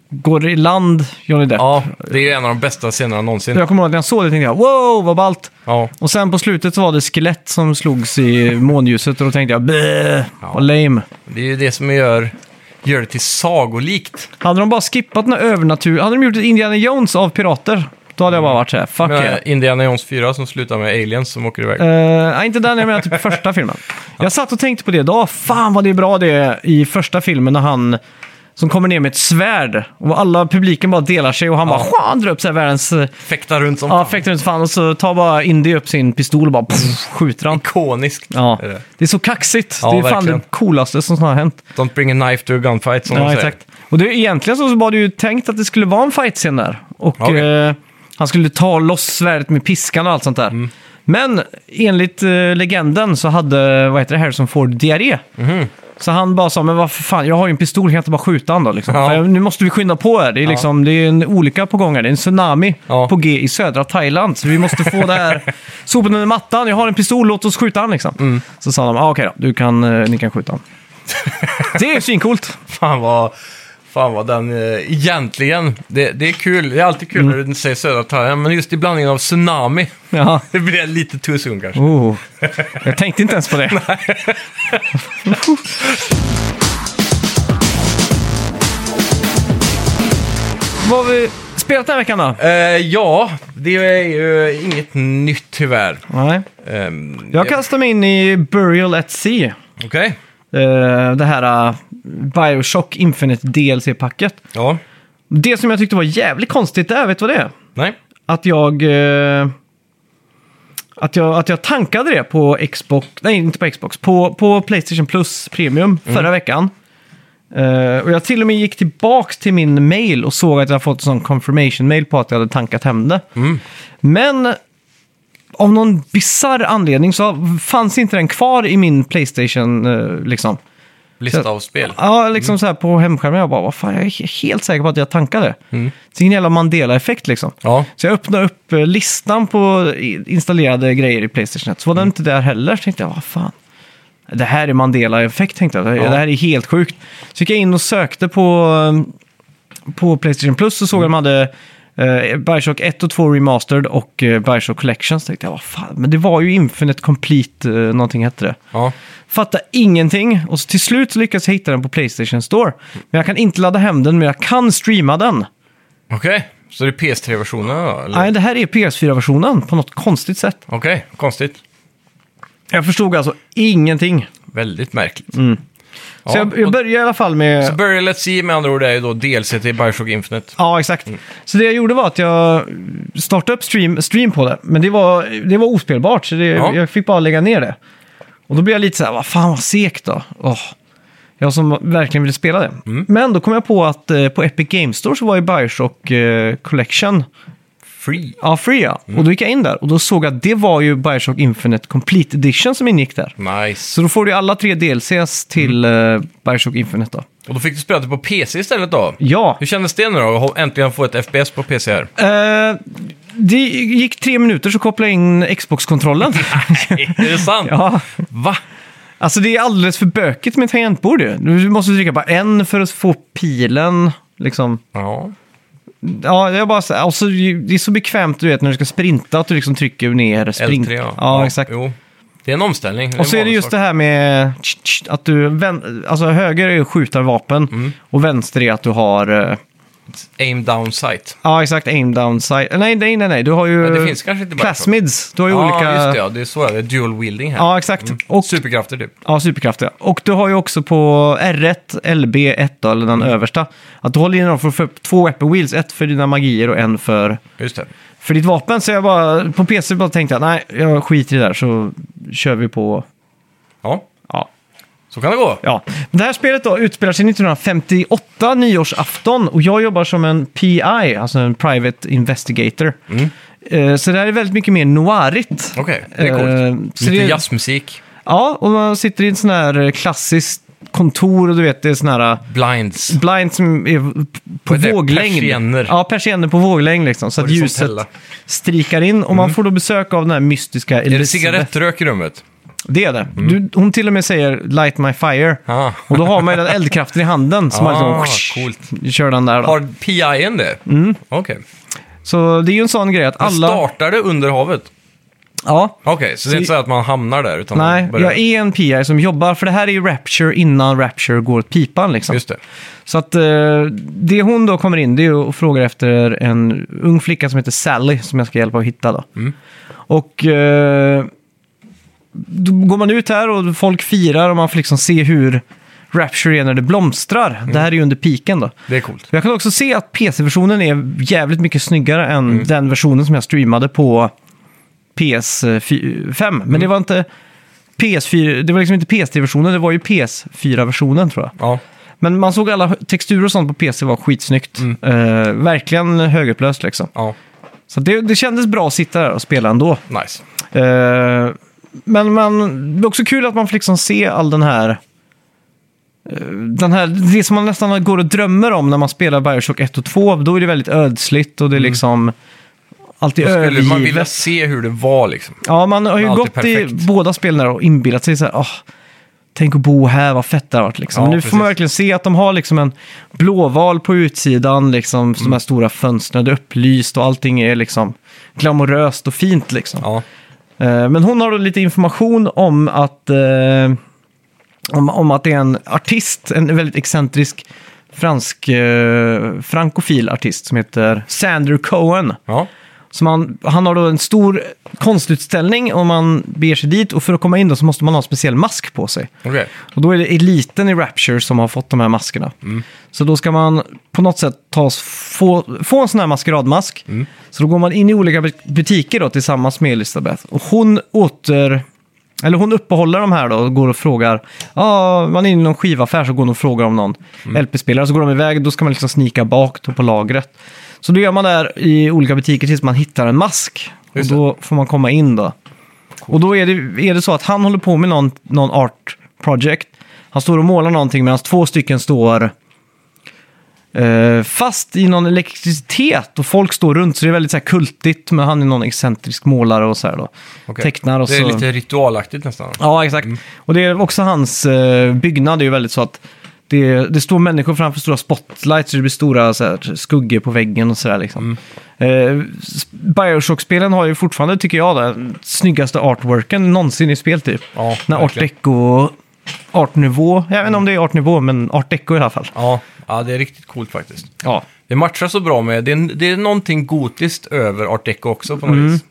[SPEAKER 1] går i land, Johnny Depp.
[SPEAKER 2] Ja, det är ju en av de bästa scenerna någonsin.
[SPEAKER 1] Jag kommer ihåg att när jag såg det tänkte jag wow, vad ballt.
[SPEAKER 2] Ja,
[SPEAKER 1] Och sen på slutet så var det skelett som slogs i månljuset och då tänkte jag bleh, vad lame.
[SPEAKER 2] det är ju det som gör, gör det till sagolikt.
[SPEAKER 1] Hade de bara skippat den här övernatur... Hade de gjort ett Indiana Jones av pirater, då hade jag bara varit så här, fuck
[SPEAKER 2] Med
[SPEAKER 1] yeah.
[SPEAKER 2] Indiana Jones 4 som slutar med aliens som åker iväg.
[SPEAKER 1] Eh, nej, inte den, jag menar typ första filmen. Jag satt och tänkte på det idag. Fan vad det är bra det är i första filmen när han som kommer ner med ett svärd och alla publiken bara delar sig och han bara "Sjua", han drar upp så här världens... eh,
[SPEAKER 2] Fäktar runt som
[SPEAKER 1] Ja,
[SPEAKER 2] fan.
[SPEAKER 1] fäktar inte fan och så tar bara Indy upp sin pistol och bara pff, skjuter han.
[SPEAKER 2] Ikoniskt.
[SPEAKER 1] Ja.
[SPEAKER 2] Är det.
[SPEAKER 1] Det är så kaxigt.
[SPEAKER 2] Ja,
[SPEAKER 1] det är fan
[SPEAKER 2] verkligen.
[SPEAKER 1] det coolaste som har hänt.
[SPEAKER 2] Don't bring a knife to a gunfight som de
[SPEAKER 1] Ja,
[SPEAKER 2] säger.
[SPEAKER 1] exakt. Och det, egentligen så var det ju tänkt att det skulle vara en fight-scen där. Och
[SPEAKER 2] Okej.
[SPEAKER 1] eh, han skulle ta loss svärdet med piskan och allt sånt där.
[SPEAKER 2] Mm.
[SPEAKER 1] Men enligt eh, legenden så hade vad heter det, Harrison Ford diarré.
[SPEAKER 2] Mhm.
[SPEAKER 1] Så han bara sa, men vad för fan, jag har ju en pistol, kan jag inte bara skjuta han då? Liksom.
[SPEAKER 2] Ja.
[SPEAKER 1] För Nu måste vi skynda på här. Det är, liksom, det är en olycka på gång här. Det är en tsunami
[SPEAKER 2] Ja.
[SPEAKER 1] på G i södra Thailand. Så vi måste få det här sopen under mattan. Jag har en pistol, låt oss skjuta han liksom.
[SPEAKER 2] Mm.
[SPEAKER 1] Så sa de, ah, okej då, du kan, eh, ni kan skjuta han. Det är ju svincoolt.
[SPEAKER 2] Fan vad, fan vad den eh, egentligen... Det, det är kul, det är alltid kul
[SPEAKER 1] Mm.
[SPEAKER 2] när du säger södra Thailand, men just i blandningen av tsunami.
[SPEAKER 1] Ja.
[SPEAKER 2] Det blir lite too soon kanske.
[SPEAKER 1] Oh, jag tänkte inte ens på det. Vad har vi spelat den här veckan då?
[SPEAKER 2] Eh, ja, det är ju inget nytt tyvärr.
[SPEAKER 1] Nej.
[SPEAKER 2] Ehm,
[SPEAKER 1] Jag
[SPEAKER 2] det-
[SPEAKER 1] kastar mig in i Burial at Sea.
[SPEAKER 2] Okej.
[SPEAKER 1] Eh, det här eh, Bioshock Infinite DLC-packet.
[SPEAKER 2] Ja.
[SPEAKER 1] Det som jag tyckte var jävligt konstigt där, vet du vad det är?
[SPEAKER 2] Nej.
[SPEAKER 1] Att jag... eh, att jag, att jag tankade det på Xbox, nej inte på Xbox, på, på Playstation Plus Premium förra veckan. Eh, och jag till och med gick tillbaks till min mail och såg att jag fått sån confirmation mail på att jag hade tankat hem det. Men av någon bizarr anledning så fanns inte den kvar i min Playstation eh, liksom.
[SPEAKER 2] Lista av spel.
[SPEAKER 1] Ja, liksom så här på hemskärmen. Jag bara, vad fan, jag är helt säker på att jag tankade. Mm. Det är en jävla Mandela-effekt liksom.
[SPEAKER 2] Ja.
[SPEAKER 1] Så jag öppnade upp eh, listan på i- installerade grejer i Playstation 1. Så var
[SPEAKER 2] Mm.
[SPEAKER 1] den inte där heller. Så tänkte jag, vad fan. Det här är Mandela-effekt tänkte jag. Det-
[SPEAKER 2] Ja.
[SPEAKER 1] Det här är helt sjukt. Så gick jag in och sökte på, eh, på Playstation Plus och såg att de hade eh, Bioshock 1 och 2 Remastered och eh, Bioshock Collection. Så tänkte jag, vad fan. Men det var ju Infinite Complete, eh, någonting hette det.
[SPEAKER 2] Ja.
[SPEAKER 1] Fattar ingenting. Och så till slut så lyckas jag hitta den på Playstation Store. Men jag kan inte ladda hem den, men jag kan streama
[SPEAKER 2] Mm.
[SPEAKER 1] den.
[SPEAKER 2] Okej. Så det är PS3-versionen då? eller?
[SPEAKER 1] Nej, det här är PS4-versionen på något konstigt sätt.
[SPEAKER 2] Okej, konstigt.
[SPEAKER 1] Jag förstod alltså ingenting.
[SPEAKER 2] Väldigt märkligt. Ja,
[SPEAKER 1] Mm. Så jag, jag
[SPEAKER 2] och-
[SPEAKER 1] började i alla fall
[SPEAKER 2] så
[SPEAKER 1] med...
[SPEAKER 2] Burial at Sea med andra ord är ju då DLC till Bioshock Infinite.
[SPEAKER 1] Ja, exakt.
[SPEAKER 2] Mm.
[SPEAKER 1] Så det jag gjorde var att jag startade upp stream, stream på det. Men det var, det var ospelbart, så det,
[SPEAKER 2] Ja.
[SPEAKER 1] jag fick bara lägga ner det. Och då blev jag lite så här, vad fan vad segt då. Åh. Jag som verkligen ville spela det.
[SPEAKER 2] Mm.
[SPEAKER 1] Men då kom jag på att eh, på Epic Games Store så var ju Bioshock eh, Collection
[SPEAKER 2] Free.
[SPEAKER 1] Ja, Free ja. Och då gick jag in där och då såg jag att det var ju Bioshock Infinite Complete Edition som ingick där.
[SPEAKER 2] Nice.
[SPEAKER 1] Så då får du ju alla tre DLCs till eh, Bioshock Infinite då.
[SPEAKER 2] Och då fick du spela det på PC istället då?
[SPEAKER 1] Ja,
[SPEAKER 2] Hur kändes det nu då? att Äntligen få ett FPS på PC här.
[SPEAKER 1] eh, det gick tre minuter så kopplade jag in Xbox-kontrollen.
[SPEAKER 2] Är det sant?
[SPEAKER 1] ja,
[SPEAKER 2] Va?
[SPEAKER 1] alltså det är alldeles för bökigt med tangentbord ju. Du måste trycka på en för att få pilen Liksom,
[SPEAKER 2] Ja.
[SPEAKER 1] ja, jag bara, så- alltså, det är så bekvämt du vet när du ska sprinta att du liksom trycker ner sprint.
[SPEAKER 2] L3, ja.
[SPEAKER 1] ja, exakt.
[SPEAKER 2] Jo. Det är en omställning.
[SPEAKER 1] Och så är det just det här med tsch, tsch, att du, vän, alltså höger är ju skjutarvapen
[SPEAKER 2] Mm.
[SPEAKER 1] och vänster är att du har, eh,
[SPEAKER 2] Aim down sight.
[SPEAKER 1] ja exakt, aim down sight. Nej, nej, nej, nej, du har ju
[SPEAKER 2] Ja, det finns kanske inte bara-
[SPEAKER 1] plasmids. Du har ju
[SPEAKER 2] ja,
[SPEAKER 1] olika,
[SPEAKER 2] just det. Ja. Det är så det är. Dual wielding här.
[SPEAKER 1] ja exakt. Och,
[SPEAKER 2] Superkrafter typ.
[SPEAKER 1] ja, superkraftiga. Och du har ju också på R1, LB1 då, eller
[SPEAKER 2] Mm.
[SPEAKER 1] den översta, att du håller in dem för att få upp två weapon wheels, ett för dina magier och en för
[SPEAKER 2] Just det.
[SPEAKER 1] för ditt vapen. Så jag bara, på PC bara tänkte jag, nej, jag skiter i det där så kör vi på,
[SPEAKER 2] Ja,
[SPEAKER 1] ja.
[SPEAKER 2] så kan det gå.
[SPEAKER 1] ja. Men Det här spelet då utspelar sig 1958, nyårsafton, och jag jobbar som en PI, alltså en Private Investigator. Eh, Så det här är väldigt mycket mer noirigt.
[SPEAKER 2] Mm. Okej, det är
[SPEAKER 1] Eh,
[SPEAKER 2] coolt.
[SPEAKER 1] så
[SPEAKER 2] Lite
[SPEAKER 1] det-
[SPEAKER 2] jazzmusik.
[SPEAKER 1] Ja, och man sitter i en sån här eh, klassisk kontor och du vet, det är sån här eh,
[SPEAKER 2] Blinds.
[SPEAKER 1] blind som är p- på
[SPEAKER 2] Vad är det?
[SPEAKER 1] våglängd.
[SPEAKER 2] Persienner.
[SPEAKER 1] Ja, persienner på våglängd liksom. Så att ljuset
[SPEAKER 2] Horisontella.
[SPEAKER 1] strikar in och man får då besök av den här mystiska
[SPEAKER 2] Mm. Är det
[SPEAKER 1] Elisabeth.
[SPEAKER 2] cigarettrök i rummet?
[SPEAKER 1] Det är det. Du, hon till och med säger “Light my fire”
[SPEAKER 2] Mm. Ah.
[SPEAKER 1] och då har man ju den eldkraften i handen som
[SPEAKER 2] Ah,
[SPEAKER 1] man liksom, whoosh,
[SPEAKER 2] coolt.
[SPEAKER 1] kör den där. Då.
[SPEAKER 2] Har PI'n det? Mm. Okej.
[SPEAKER 1] Så det är ju en sån grej att
[SPEAKER 2] Alla...
[SPEAKER 1] alla...
[SPEAKER 2] Startar det under havet?
[SPEAKER 1] Ja,
[SPEAKER 2] Okej, så det är inte så att man hamnar där? Utan
[SPEAKER 1] nej,
[SPEAKER 2] man börjar...
[SPEAKER 1] jag är en PI som jobbar, för det här är ju Rapture innan Rapture går åt pipan liksom.
[SPEAKER 2] Just det.
[SPEAKER 1] Så att eh, det hon då kommer in, det är ju och frågar efter en ung flicka som heter Sally som jag ska hjälpa att hitta då. Och eh, då går man ut här och folk firar och man får liksom se hur Rapture är när det blomstrar. Det här är ju under piken då.
[SPEAKER 2] Det är coolt.
[SPEAKER 1] Jag kan också se att PC-versionen är jävligt mycket snyggare än den versionen som jag streamade på PS5. Men det var inte PS4, det var liksom inte PS3-versionen, det var ju PS4-versionen tror jag.
[SPEAKER 2] Ja.
[SPEAKER 1] Men man såg alla texturer och sånt på PC var skitsnyggt.
[SPEAKER 2] Mm.
[SPEAKER 1] Eh, verkligen högupplöst liksom.
[SPEAKER 2] ja,
[SPEAKER 1] Så det, det kändes bra att sitta där och spela ändå.
[SPEAKER 2] nice.
[SPEAKER 1] Eh, men man, det är också kul att man får liksom se all den här... eh, Den här, det som man nästan går och drömmer om när
[SPEAKER 2] Mm.
[SPEAKER 1] man spelar Bioshock 1 och 2, då är det väldigt ödsligt och det är liksom alltid
[SPEAKER 2] Då skulle man vilja
[SPEAKER 1] övergivet.
[SPEAKER 2] se hur det var liksom.
[SPEAKER 1] Ja, man har ju
[SPEAKER 2] Alltid
[SPEAKER 1] gått
[SPEAKER 2] perfekt.
[SPEAKER 1] i båda spelen där och inbillat sig så här, "Åh, tänk att bo här, vad fett det har varit liksom.
[SPEAKER 2] Ja,
[SPEAKER 1] Men nu får man
[SPEAKER 2] precis.
[SPEAKER 1] verkligen se att de har liksom en blåval på utsidan, liksom,
[SPEAKER 2] Mm.
[SPEAKER 1] de här stora fönstren, det är upplyst och allting är liksom glamoröst och fint liksom.
[SPEAKER 2] Ja,
[SPEAKER 1] Eh, Men hon har då lite information om att, eh, om, om att det är en artist, en väldigt excentrisk fransk, eh, frankofil artist som heter Sander Cohen.
[SPEAKER 2] ja.
[SPEAKER 1] Så man, han har då en stor konstutställning och man beger sig dit och för att komma in då så måste man ha en speciell mask på sig.
[SPEAKER 2] okej.
[SPEAKER 1] Och då är det eliten i Rapture som har fått de här maskerna.
[SPEAKER 2] Mm.
[SPEAKER 1] Så då ska man på något sätt ta oss, få, få en sån här maskeradmask.
[SPEAKER 2] Mm.
[SPEAKER 1] Så då går man in i olika bu- butiker då, tillsammans med Elisabeth. Och hon åter... Eller hon uppehåller de här då och går och frågar. Ja, man är inne i någon skivaffär så går hon och frågar om någon
[SPEAKER 2] Mm.
[SPEAKER 1] LP-spelare. Så går de iväg, då ska man liksom snika bak då på lagret. Så då gör man där i olika butiker tills man hittar en mask. Och
[SPEAKER 2] Just det.
[SPEAKER 1] då får man komma in då. Och då är det, är det så att han håller på med någon, någon art project. Han står och målar någonting medan två stycken står eh, fast i någon elektricitet och folk står runt. Så det är väldigt så här kultigt, men han är någon excentrisk målare och så här då.
[SPEAKER 2] okej.
[SPEAKER 1] Tecknar och
[SPEAKER 2] Det är
[SPEAKER 1] så.
[SPEAKER 2] lite ritualaktigt nästan.
[SPEAKER 1] Ja, exakt.
[SPEAKER 2] Mm.
[SPEAKER 1] Och det är också hans eh, byggnad, det är ju väldigt så att det, det står människor framför stora spotlights, så det blir stora så här, skuggor på väggen och sådär liksom.
[SPEAKER 2] Mm.
[SPEAKER 1] Eh, s- Bioshock-spelen har ju fortfarande, tycker jag, den snyggaste artworken någonsin i spel typ.
[SPEAKER 2] Ja,
[SPEAKER 1] När art
[SPEAKER 2] verkligen.
[SPEAKER 1] deco, art nouveau, jag vet inte om det är art nouveau, men art deco i alla fall.
[SPEAKER 2] Ja, ja, det är riktigt coolt faktiskt.
[SPEAKER 1] Ja,
[SPEAKER 2] Det matchar så bra med, det är, det är någonting gotiskt över art deco också på något
[SPEAKER 1] Mm.
[SPEAKER 2] vis.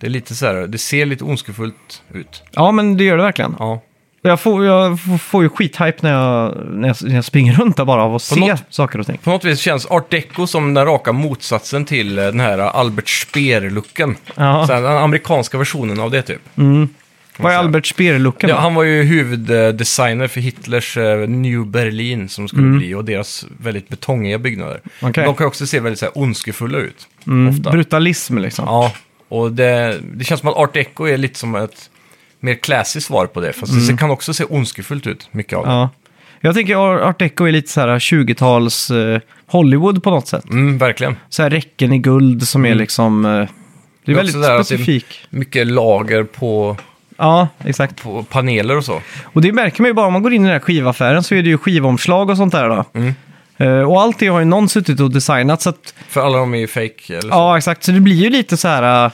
[SPEAKER 2] Det är lite så här, det ser lite ondskefullt ut.
[SPEAKER 1] ja men det gör det verkligen.
[SPEAKER 2] Ja.
[SPEAKER 1] Jag, får, jag f- får ju skithype när jag, när, jag, när jag springer runt där bara av att se
[SPEAKER 2] något-
[SPEAKER 1] saker och ting.
[SPEAKER 2] På något vis känns art deco som den raka motsatsen till eh, den här Albert Speer-looken.
[SPEAKER 1] Ja.
[SPEAKER 2] Så här, Den amerikanska versionen av det typ.
[SPEAKER 1] Vad är
[SPEAKER 2] säga.
[SPEAKER 1] Albert Speer-looken?
[SPEAKER 2] Ja, han var ju huvuddesigner för Hitlers eh, New Berlin som skulle bli och deras väldigt betongiga byggnader.
[SPEAKER 1] Mm. Okej. Mm.
[SPEAKER 2] De kan också se väldigt så här, ondskefulla ut. Ofta.
[SPEAKER 1] Brutalism liksom.
[SPEAKER 2] Ja, och det, det känns som att art deco är lite som ett mer klassiskt svar på det. Fast det kan också se ondskefullt ut, mycket av det.
[SPEAKER 1] Mm. Ja. Jag tänker ar- art deco är lite så här 20-tals eh, Hollywood på något sätt.
[SPEAKER 2] Mm, verkligen.
[SPEAKER 1] Så här räcken i guld som är liksom... Eh, det är
[SPEAKER 2] också
[SPEAKER 1] väldigt
[SPEAKER 2] Mm. det här att det-
[SPEAKER 1] specifik.
[SPEAKER 2] Mycket lager på,
[SPEAKER 1] Ja, exakt.
[SPEAKER 2] på paneler och så. Mm.
[SPEAKER 1] Och det märker man ju bara om man går in i den här skivaffären så är det ju skivomslag och sånt där då. Eh, Och allt det har ju någon suttit och designat. Så att,
[SPEAKER 2] För alla de är ju fake. Eller så.
[SPEAKER 1] ja, exakt. Så det blir ju lite så här eh,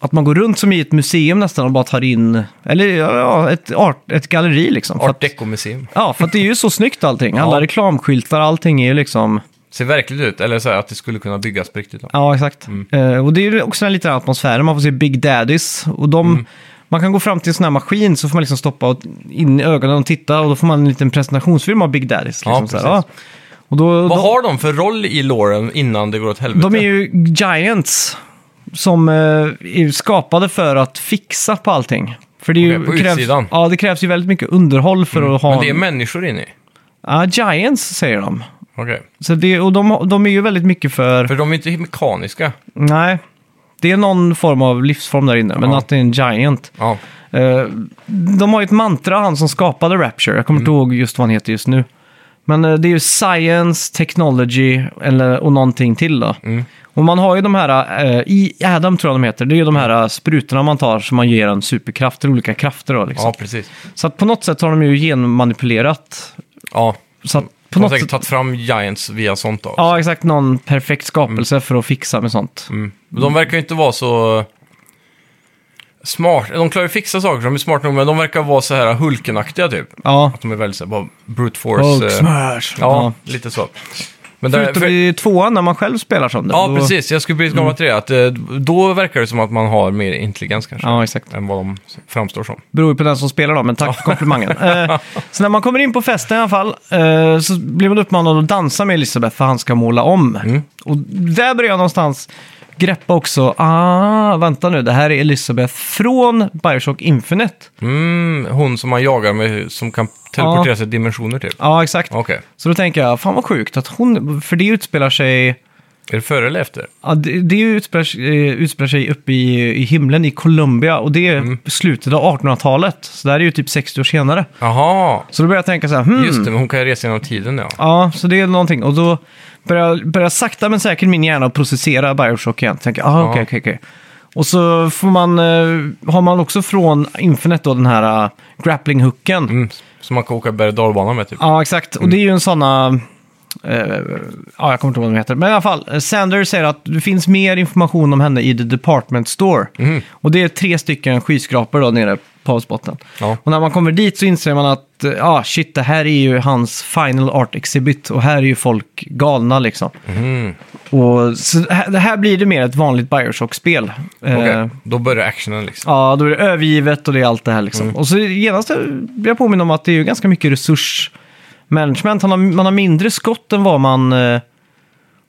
[SPEAKER 1] att man går runt som i ett museum nästan och bara tar in, eller ja, ett, art, ett galleri liksom. För
[SPEAKER 2] Art
[SPEAKER 1] att,
[SPEAKER 2] deco-museum.
[SPEAKER 1] ja, för att det är ju så snyggt allting. Alla
[SPEAKER 2] Ja.
[SPEAKER 1] reklamskyltar, allting är ju liksom...
[SPEAKER 2] Ser verkligt ut, eller så här, att det skulle kunna byggas på riktigt. då.
[SPEAKER 1] Ja, exakt.
[SPEAKER 2] Mm.
[SPEAKER 1] Eh, och det är ju också den här liten atmosfären. Man får se Big Daddies. Och de,
[SPEAKER 2] Mm.
[SPEAKER 1] Man kan gå fram till en sån här maskin så får man liksom stoppa och in i ögonen och titta och då får man en liten presentationsfilm av Big Daddies. Liksom,
[SPEAKER 2] Ja,
[SPEAKER 1] så här,
[SPEAKER 2] precis.
[SPEAKER 1] Och då,
[SPEAKER 2] Vad
[SPEAKER 1] de,
[SPEAKER 2] har de för roll i låren innan det går åt helvete?
[SPEAKER 1] de är ju giants som eh, är ju skapade för att fixa på allting. För det, är ju,
[SPEAKER 2] Okej, på
[SPEAKER 1] krävs,
[SPEAKER 2] utsidan. Mm.
[SPEAKER 1] ja, det krävs ju väldigt mycket underhåll för att ha...
[SPEAKER 2] Men det är
[SPEAKER 1] en-
[SPEAKER 2] människor inne i?
[SPEAKER 1] Ja, giants säger de.
[SPEAKER 2] Okej.
[SPEAKER 1] Så det, och de, de är ju väldigt mycket
[SPEAKER 2] För de är inte mekaniska.
[SPEAKER 1] Nej, det är någon form av livsform där inne, men
[SPEAKER 2] Ja.
[SPEAKER 1] att det är en giant.
[SPEAKER 2] Ja.
[SPEAKER 1] Eh, de har ju ett mantra, han som skapade Rapture. Jag kommer inte
[SPEAKER 2] Mm.
[SPEAKER 1] ihåg just vad han heter just nu. Men eh, det är ju science, technology eller, och någonting till då.
[SPEAKER 2] Mm.
[SPEAKER 1] Och man har ju de här, eh, i Adam tror jag de heter, det är ju de här eh, sprutorna man tar som man ger en superkraft, eller olika krafter då liksom.
[SPEAKER 2] ja, precis.
[SPEAKER 1] Så att på något sätt har de ju genmanipulerat.
[SPEAKER 2] Ja.
[SPEAKER 1] Så att på
[SPEAKER 2] De har
[SPEAKER 1] något
[SPEAKER 2] säkert
[SPEAKER 1] sätt,
[SPEAKER 2] tagit fram Giants via sånt då.
[SPEAKER 1] ja exakt, någon perfekt skapelse för att fixa med sånt.
[SPEAKER 2] Mm. Men De verkar ju inte vara så smart. De klarar ju fixa saker, de är smarta nog, men de verkar vara så här Hulkenaktiga typ.
[SPEAKER 1] Ja.
[SPEAKER 2] Att de är väldigt så här, bara brute force. eh,
[SPEAKER 1] Ja.
[SPEAKER 2] ja, lite så. Men där,
[SPEAKER 1] Förutom
[SPEAKER 2] för,
[SPEAKER 1] i Mm. tvåan när man själv spelar som det.
[SPEAKER 2] ja,
[SPEAKER 1] Då-
[SPEAKER 2] precis. Jag skulle precis komma till det. Att, eh, då verkar det som att man har mer intelligens kanske.
[SPEAKER 1] Ja, exakt.
[SPEAKER 2] Än vad de framstår som.
[SPEAKER 1] Beror ju på den som spelar då, men tack för komplimangen. Eh, så när man kommer in på festen i alla fall eh, så blir man uppmanad att dansa med Elisabeth för han ska måla om.
[SPEAKER 2] Mm.
[SPEAKER 1] Och där börjar jag någonstans greppa också, ah, vänta nu, det här är Elisabeth från Bioshock Infinite.
[SPEAKER 2] Mm, hon som man jagar med, som kan teleportera sig dimensioner typ.
[SPEAKER 1] Ja, exakt.
[SPEAKER 2] Okej.
[SPEAKER 1] Så då tänker jag, fan vad sjukt att hon, för det utspelar sig,
[SPEAKER 2] Är det före eller efter?
[SPEAKER 1] ja, det, det utspelar, eh, utspelar sig uppe i, i himlen i Colombia och det är
[SPEAKER 2] Mm.
[SPEAKER 1] slutet av 1800-talet. Så det här är ju typ 60 år senare.
[SPEAKER 2] Jaha,
[SPEAKER 1] Så då börjar jag tänka så här, hmm,
[SPEAKER 2] just det. Men hon kan ju resa genom tiden ja.
[SPEAKER 1] Ja, så det är någonting. Och då börjar, börjar sakta men säkert min hjärna att processera Bioshock igen. Tänker, ah, okej,
[SPEAKER 2] Ja.
[SPEAKER 1] okej, okej. Och så får man, eh, har man också från Infinite då den här eh, grappling-hooken.
[SPEAKER 2] Mm, som man kan åka berg och dalbana med typ.
[SPEAKER 1] Ja, exakt. Och det är ju en såna... eh, ja, jag kommer inte ihåg vad de heter. Men i alla fall, eh, Sanders säger att det finns mer information om henne i The Department Store.
[SPEAKER 2] Mm.
[SPEAKER 1] Och det är tre stycken skyskrapor då nere på havsbotten.
[SPEAKER 2] Ja.
[SPEAKER 1] Och när man kommer dit så inser man att eh, ah, shit, det här är ju hans final art exhibit och här är ju folk galna liksom.
[SPEAKER 2] Mm.
[SPEAKER 1] Och, så det här- det här blir det mer ett vanligt Bioshock-spel. Eh,
[SPEAKER 2] Okej, då börjar actionen liksom.
[SPEAKER 1] Ja, då är det övergivet och det är allt det här liksom.
[SPEAKER 2] Mm.
[SPEAKER 1] Och så genast blir jag påminn om att det är ju ganska mycket resursmanagement. Man har, man har mindre skott än vad man... eh,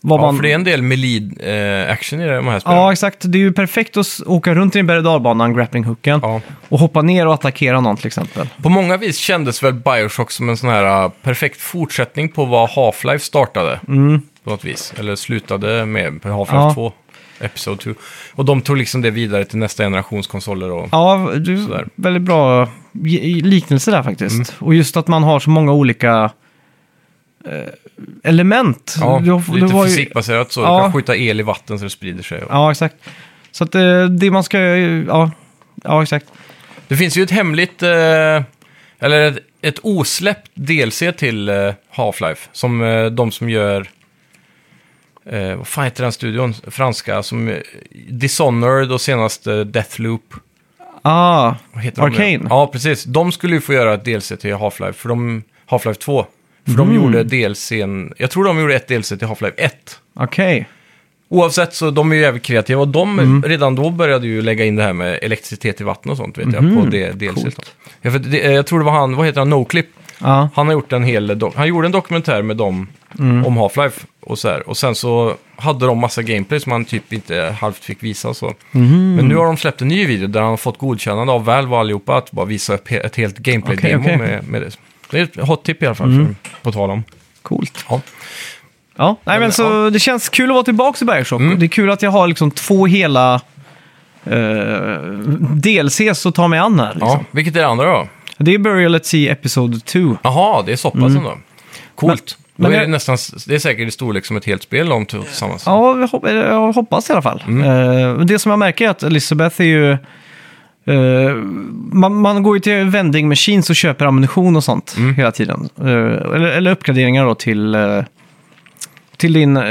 [SPEAKER 1] Vad
[SPEAKER 2] Ja,
[SPEAKER 1] man...
[SPEAKER 2] för det är en del med lead eh, action i de här spelen.
[SPEAKER 1] ja, exakt. Det är ju perfekt att s- åka runt i en berg och dalbana, grapplinghucken,
[SPEAKER 2] Ja.
[SPEAKER 1] och hoppa ner och attackera någon till exempel.
[SPEAKER 2] På många vis kändes väl Bioshock som en sån här eh, perfekt fortsättning på vad Half-Life startade. På något vis. Eller slutade med på Half-Life
[SPEAKER 1] Mm. Ja.
[SPEAKER 2] 2. Episode 2. Och de tog liksom det vidare till nästa generations konsoler. Och...
[SPEAKER 1] Ja, det är
[SPEAKER 2] Sådär.
[SPEAKER 1] väldigt bra ge- liknelse där faktiskt.
[SPEAKER 2] Mm.
[SPEAKER 1] Och just att man har så många olika eh, element.
[SPEAKER 2] Ja,
[SPEAKER 1] Du har-
[SPEAKER 2] lite
[SPEAKER 1] det var ju-
[SPEAKER 2] fysikbaserat så.
[SPEAKER 1] Ja.
[SPEAKER 2] Du kan skjuta el i vatten så det sprider sig. Och...
[SPEAKER 1] Ja, exakt. Så att eh, det man ska... Ja, ja exakt.
[SPEAKER 2] Det finns ju ett hemligt, eh, eller ett, ett osläppt DLC till eh, Half-Life. Som eh, de som gör, eh, vad fan heter den studion, franska, som eh, Dishonored och senast eh, Deathloop.
[SPEAKER 1] Ah,
[SPEAKER 2] Vad heter de?
[SPEAKER 1] Arcane.
[SPEAKER 2] nu? Ja, precis. De skulle ju få göra ett DLC till Half-Life, för de, Half-Life 2. För de gjorde DLCn, jag tror de gjorde ett DLC till Half-Life 1.
[SPEAKER 1] Okej.
[SPEAKER 2] Oavsett så de är ju jävligt kreativa och de
[SPEAKER 1] Mm.
[SPEAKER 2] redan då började ju lägga in det här med elektricitet i vatten och sånt vet jag på det DLC.
[SPEAKER 1] Mhm. Coolt.
[SPEAKER 2] då. Ja, för det, eh, jag tror det var han, vad heter han, Noclip?
[SPEAKER 1] Ja.
[SPEAKER 2] Han har gjort en hel, do- han gjorde en dokumentär med dem
[SPEAKER 1] Mm.
[SPEAKER 2] om Half-Life och så här. Och sen så hade de massa gameplay som han typ inte halvt fick visa så.
[SPEAKER 1] Mhm.
[SPEAKER 2] Men nu har de släppt en ny video där han har fått godkännande av Valve och allihopa att bara visa upp he- ett helt gameplay-demo
[SPEAKER 1] Okej, Mhm. okej.
[SPEAKER 2] med, med det. Det är ett hot tip i alla fall, för, på tal om.
[SPEAKER 1] Coolt.
[SPEAKER 2] Ja.
[SPEAKER 1] Ja, nej men så det känns kul att vara tillbaka i Bioshock.
[SPEAKER 2] Mm.
[SPEAKER 1] Det är kul att jag har liksom två hela eh, DLCs att ta mig an här. Liksom.
[SPEAKER 2] Ja. Vilket är det andra då?
[SPEAKER 1] Det är Burial at Sea Episode 2.
[SPEAKER 2] Jaha, det är så pass ändå. Coolt.
[SPEAKER 1] Mm. Men- men
[SPEAKER 2] då är det,
[SPEAKER 1] jag-
[SPEAKER 2] nästan, det är säkert i storlek som ett helt spel de två tillsammans.
[SPEAKER 1] Ja, jag hop- jag hoppas i alla fall.
[SPEAKER 2] Mm.
[SPEAKER 1] Eh, det som jag märker är att Elizabeth är ju... eh, man, man går ju till
[SPEAKER 2] Mm.
[SPEAKER 1] vending machines och köper ammunition och sånt hela tiden. Eh, eller, eller uppgraderingar då till eh, till din eh,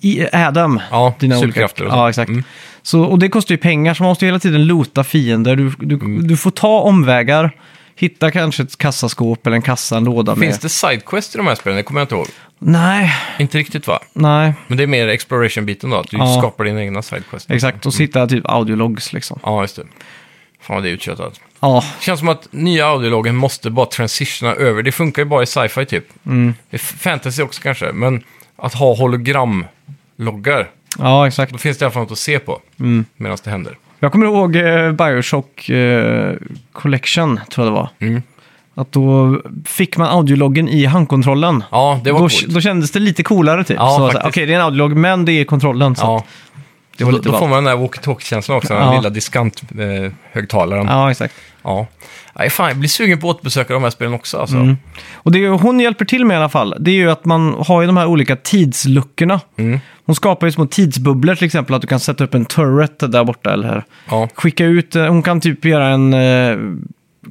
[SPEAKER 1] i- Adam.
[SPEAKER 2] Ja,
[SPEAKER 1] dina
[SPEAKER 2] superkrafter och
[SPEAKER 1] olika,
[SPEAKER 2] så.
[SPEAKER 1] Ja, exakt.
[SPEAKER 2] Mm.
[SPEAKER 1] Så, och det kostar ju pengar, så man måste ju hela tiden loota fiender. Du, du,
[SPEAKER 2] Mm.
[SPEAKER 1] du får ta omvägar, hitta kanske ett kassaskåp eller en kassa, en låda
[SPEAKER 2] Mm.
[SPEAKER 1] med...
[SPEAKER 2] Finns det sidequest i de här spelen? Det kommer jag inte ihåg.
[SPEAKER 1] Nej,
[SPEAKER 2] Inte riktigt va?
[SPEAKER 1] nej,
[SPEAKER 2] Men det är mer exploration-biten då, att du
[SPEAKER 1] Ja.
[SPEAKER 2] skapar dina egna sidequests.
[SPEAKER 1] exakt. Och så hittar jag typ audiologs liksom.
[SPEAKER 2] Ja, just det. Fan vad det är uttjötat.
[SPEAKER 1] Ja,
[SPEAKER 2] Det känns som att nya audiologen måste bara transitiona över. Det funkar ju bara i sci-fi typ.
[SPEAKER 1] Mm.
[SPEAKER 2] I f- fantasy också kanske, men att ha hologramloggar.
[SPEAKER 1] ja exakt.
[SPEAKER 2] Då finns det i alla fall något att se på
[SPEAKER 1] Mm.
[SPEAKER 2] medan det händer.
[SPEAKER 1] Jag kommer ihåg eh, Bioshock eh, Collection, tror jag det var.
[SPEAKER 2] Mm.
[SPEAKER 1] Att då fick man audiologgen i handkontrollen.
[SPEAKER 2] Ja, det var
[SPEAKER 1] då,
[SPEAKER 2] coolt.
[SPEAKER 1] då kändes det lite coolare typ.
[SPEAKER 2] Ja,
[SPEAKER 1] Så att, Okej,
[SPEAKER 2] faktiskt.
[SPEAKER 1] det är en audiolog, men det är kontrollen. Så att
[SPEAKER 2] Ja.
[SPEAKER 1] det var
[SPEAKER 2] Då,
[SPEAKER 1] lite
[SPEAKER 2] då får
[SPEAKER 1] ballt.
[SPEAKER 2] man den där walkie-talkie-känslan också, den
[SPEAKER 1] Ja.
[SPEAKER 2] lilla diskanthögtalaren. Ja.
[SPEAKER 1] Ja, exakt.
[SPEAKER 2] Ja. Nej, fan, jag blir sugen på att återbesöka de här spelen också alltså.
[SPEAKER 1] Mm. Och det är ju- hon hjälper till med i alla fall, det är ju att man har ju de här olika tidsluckorna.
[SPEAKER 2] Mm.
[SPEAKER 1] Hon skapar ju små tidsbubblor till exempel, att du kan sätta upp en turret där borta eller här.
[SPEAKER 2] Ja.
[SPEAKER 1] Skicka ut, eh, hon kan typ göra en, eh,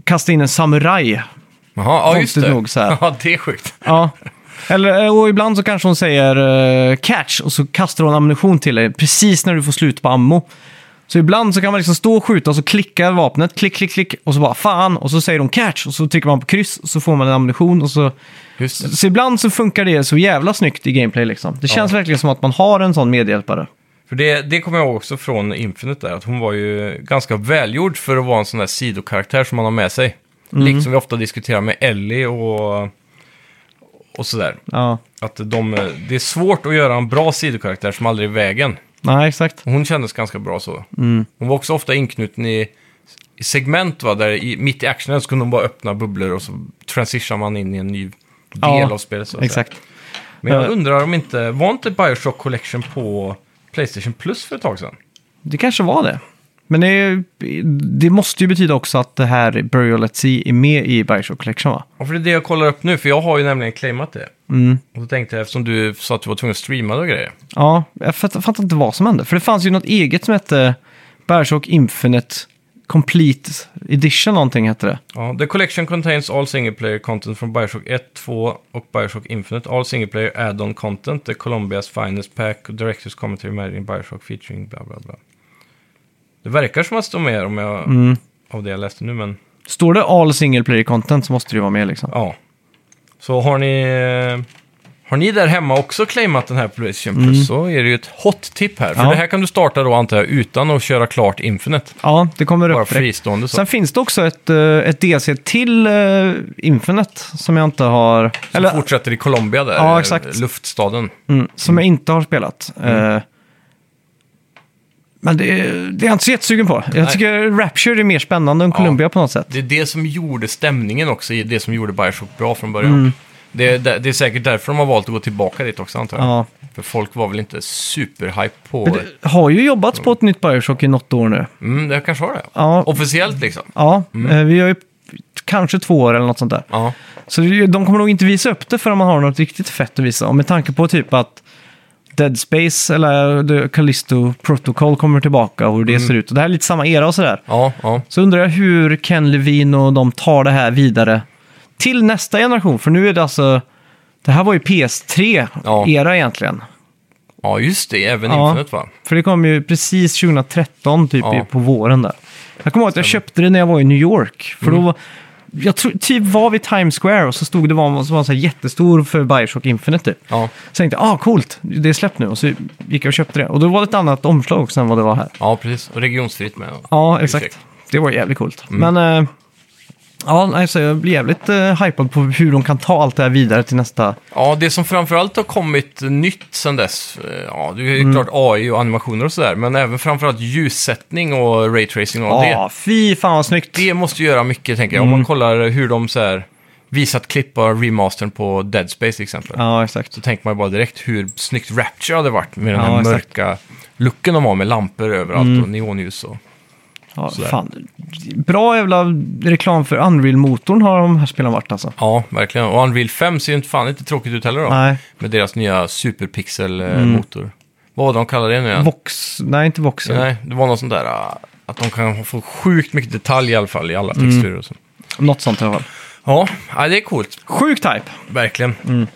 [SPEAKER 1] kasta in en samuraj.
[SPEAKER 2] Jaha, ja, just
[SPEAKER 1] Konstigt
[SPEAKER 2] det.
[SPEAKER 1] nog så här.
[SPEAKER 2] Ja, det är sjukt.
[SPEAKER 1] Ja. Eller, eh, och ibland så kanske hon säger eh, catch och så kastar hon ammunition till dig precis när du får slut på ammo. Så ibland så kan man liksom stå och skjuta och så klickar vapnet, klick, klick, klick och så bara fan och så säger hon catch och så trycker man på kryss och så får man en ammunition och så
[SPEAKER 2] Just det.
[SPEAKER 1] så ibland så funkar det så jävla snyggt i gameplay liksom. Det känns verkligen som att man har en sån medhjälpare.
[SPEAKER 2] För det, det kommer jag ihåg också från Infinite där, att hon var ju ganska välgjord för att vara en sån där sidokaraktär som man har med sig.
[SPEAKER 1] Mm.
[SPEAKER 2] Likt som vi ofta diskuterar med Ellie och, och sådär.
[SPEAKER 1] Ja,
[SPEAKER 2] Att de, eh, det är svårt att göra en bra sidokaraktär som aldrig är i vägen.
[SPEAKER 1] nej exakt.
[SPEAKER 2] Och Hon kändes ganska bra så.
[SPEAKER 1] Mm.
[SPEAKER 2] Hon var också ofta inknuten i, i segment, va, där i, mitt i actionen så kunde hon bara öppna bubblor och så transitionar man in i en ny del
[SPEAKER 1] Ja,
[SPEAKER 2] av spelet. Så att säga.
[SPEAKER 1] Exakt.
[SPEAKER 2] Men jag
[SPEAKER 1] Eh.
[SPEAKER 2] undrar om inte, var inte Bioshock Collection på Playstation Plus för ett tag sedan?
[SPEAKER 1] Det kanske var det. Men det, är- det måste ju betyda också att det här Burial at Sea är med i Bioshock Collection va?
[SPEAKER 2] Ja, för det är det jag kollar upp nu, för jag har ju nämligen claimat det.
[SPEAKER 1] Mm.
[SPEAKER 2] Och då tänkte jag, eftersom du sa att du var tvungen att streama det och grejer.
[SPEAKER 1] Ja, jag fatt- fattar inte vad som hände. För det fanns ju något eget som hette Bioshock Infinite Complete Edition någonting hette det.
[SPEAKER 2] Ja, the collection contains all single player content from Bioshock 1, 2 och Bioshock Infinite. All single player add-on content, the Colombias finest pack, och directors commentary med in Bioshock featuring bla bla bla. Det verkar som att stå med om jag,
[SPEAKER 1] Mm.
[SPEAKER 2] av det jag läste nu, men
[SPEAKER 1] Står det all single player content så måste det ju vara med liksom.
[SPEAKER 2] ja. Så har ni, eh, har ni där hemma också claimat den här Playstation Plus så är det ju ett hot tip här. För
[SPEAKER 1] Mm. Ja.
[SPEAKER 2] det här kan du starta då antar jag utan att köra klart Infinite.
[SPEAKER 1] Ja, det kommer
[SPEAKER 2] Bara
[SPEAKER 1] upp direkt.
[SPEAKER 2] fristående så.
[SPEAKER 1] Sen finns det också ett, eh, ett DLC till eh, Infinite som jag inte har... Eller
[SPEAKER 2] Eller... Fortsätter i Colombia där,
[SPEAKER 1] Ja, exakt.
[SPEAKER 2] luftstaden.
[SPEAKER 1] mm, som jag inte har spelat.
[SPEAKER 2] Mm.
[SPEAKER 1] Eh, men det, det är jag inte så jättesugen på. Jag
[SPEAKER 2] Nej.
[SPEAKER 1] tycker Rapture är mer spännande än Columbia på något sätt.
[SPEAKER 2] Det är det som gjorde stämningen också, i det som gjorde Bioshock bra från början.
[SPEAKER 1] Mm.
[SPEAKER 2] Det, är, det är säkert därför de har valt att gå tillbaka dit också antar jag.
[SPEAKER 1] Ja.
[SPEAKER 2] För folk var väl inte superhype på... Det...
[SPEAKER 1] Det har ju jobbats på ett nytt Bioshock i något år nu.
[SPEAKER 2] Mm, det kanske var det.
[SPEAKER 1] Ja.
[SPEAKER 2] Officiellt liksom.
[SPEAKER 1] Ja, eh, vi har ju kanske två år eller något sånt där.
[SPEAKER 2] Ja.
[SPEAKER 1] Så det är ju- de kommer nog inte visa upp det förrän man har något riktigt fett att visa. Och med tanke på typ att Dead Space eller The Callisto Protocol kommer tillbaka och hur det ser ut. Och det här är lite samma era och sådär.
[SPEAKER 2] Ja, ja.
[SPEAKER 1] Så undrar jag hur Ken Levine och de tar det här vidare till nästa generation. För nu är det alltså... Det här var ju
[SPEAKER 2] Ja.
[SPEAKER 1] PS3-era egentligen.
[SPEAKER 2] ja, just det. Även
[SPEAKER 1] Ja.
[SPEAKER 2] Infinite va?
[SPEAKER 1] För det kom ju precis 2013, typ
[SPEAKER 2] Ja.
[SPEAKER 1] i- på våren där. Jag kommer ihåg att jag köpte det när jag var i New York.
[SPEAKER 2] Mm.
[SPEAKER 1] För då var, jag tror, typ var vid Times Square och så stod det var, så var en så här jättestor för Bioshock Infinite typ.
[SPEAKER 2] Ja.
[SPEAKER 1] Så tänkte jag, ah coolt, det är släppt nu. Och så gick jag och köpte det. Och då var det ett annat omslag också än vad det var här.
[SPEAKER 2] ja, precis. Och regionsfritt med.
[SPEAKER 1] Ja, exakt.
[SPEAKER 2] Ursäkta.
[SPEAKER 1] Det var jävligt coolt.
[SPEAKER 2] Mm.
[SPEAKER 1] Men, eh, ja, alltså, jag blir jävligt eh, hypad på hur de kan ta allt det här vidare till nästa.
[SPEAKER 2] Ja, det som framförallt har kommit nytt sen dess, eh, ja, det är
[SPEAKER 1] Mm.
[SPEAKER 2] ju klart AI och animationer och sådär, men även framförallt ljussättning och raytracing och
[SPEAKER 1] Ja,
[SPEAKER 2] det.
[SPEAKER 1] Ah, fy fan vad snyggt.
[SPEAKER 2] Det måste ju göra mycket, tänker jag.
[SPEAKER 1] Mm.
[SPEAKER 2] Om man kollar hur de så här, visat klipp av remastern på Dead Space till exempel.
[SPEAKER 1] Ja, exakt.
[SPEAKER 2] Så tänker man ju bara direkt hur snyggt Rapture hade varit med den
[SPEAKER 1] Ja,
[SPEAKER 2] här
[SPEAKER 1] exakt. Mm.
[SPEAKER 2] mörka looken de har med lampor överallt och neonljus och...
[SPEAKER 1] Ja,
[SPEAKER 2] Sådär.
[SPEAKER 1] fan. Bra jävla reklam för Unreal-motorn har de här spelen varit alltså.
[SPEAKER 2] Ja, verkligen. Och Unreal 5 ser ju inte fan inte tråkigt ut heller då.
[SPEAKER 1] Nej, Mm.
[SPEAKER 2] Med deras nya superpixel-motor. Vad var det de kallar det nu igen?
[SPEAKER 1] Vox, nej inte Voxel.
[SPEAKER 2] Nej, det var något sånt där ah, att de kan få sjukt mycket detalj i alla fall i alla
[SPEAKER 1] Mm.
[SPEAKER 2] texturer och så.
[SPEAKER 1] Något sånt i alla fall.
[SPEAKER 2] Ja, ja, det är coolt.
[SPEAKER 1] Sjuk type.
[SPEAKER 2] Verkligen.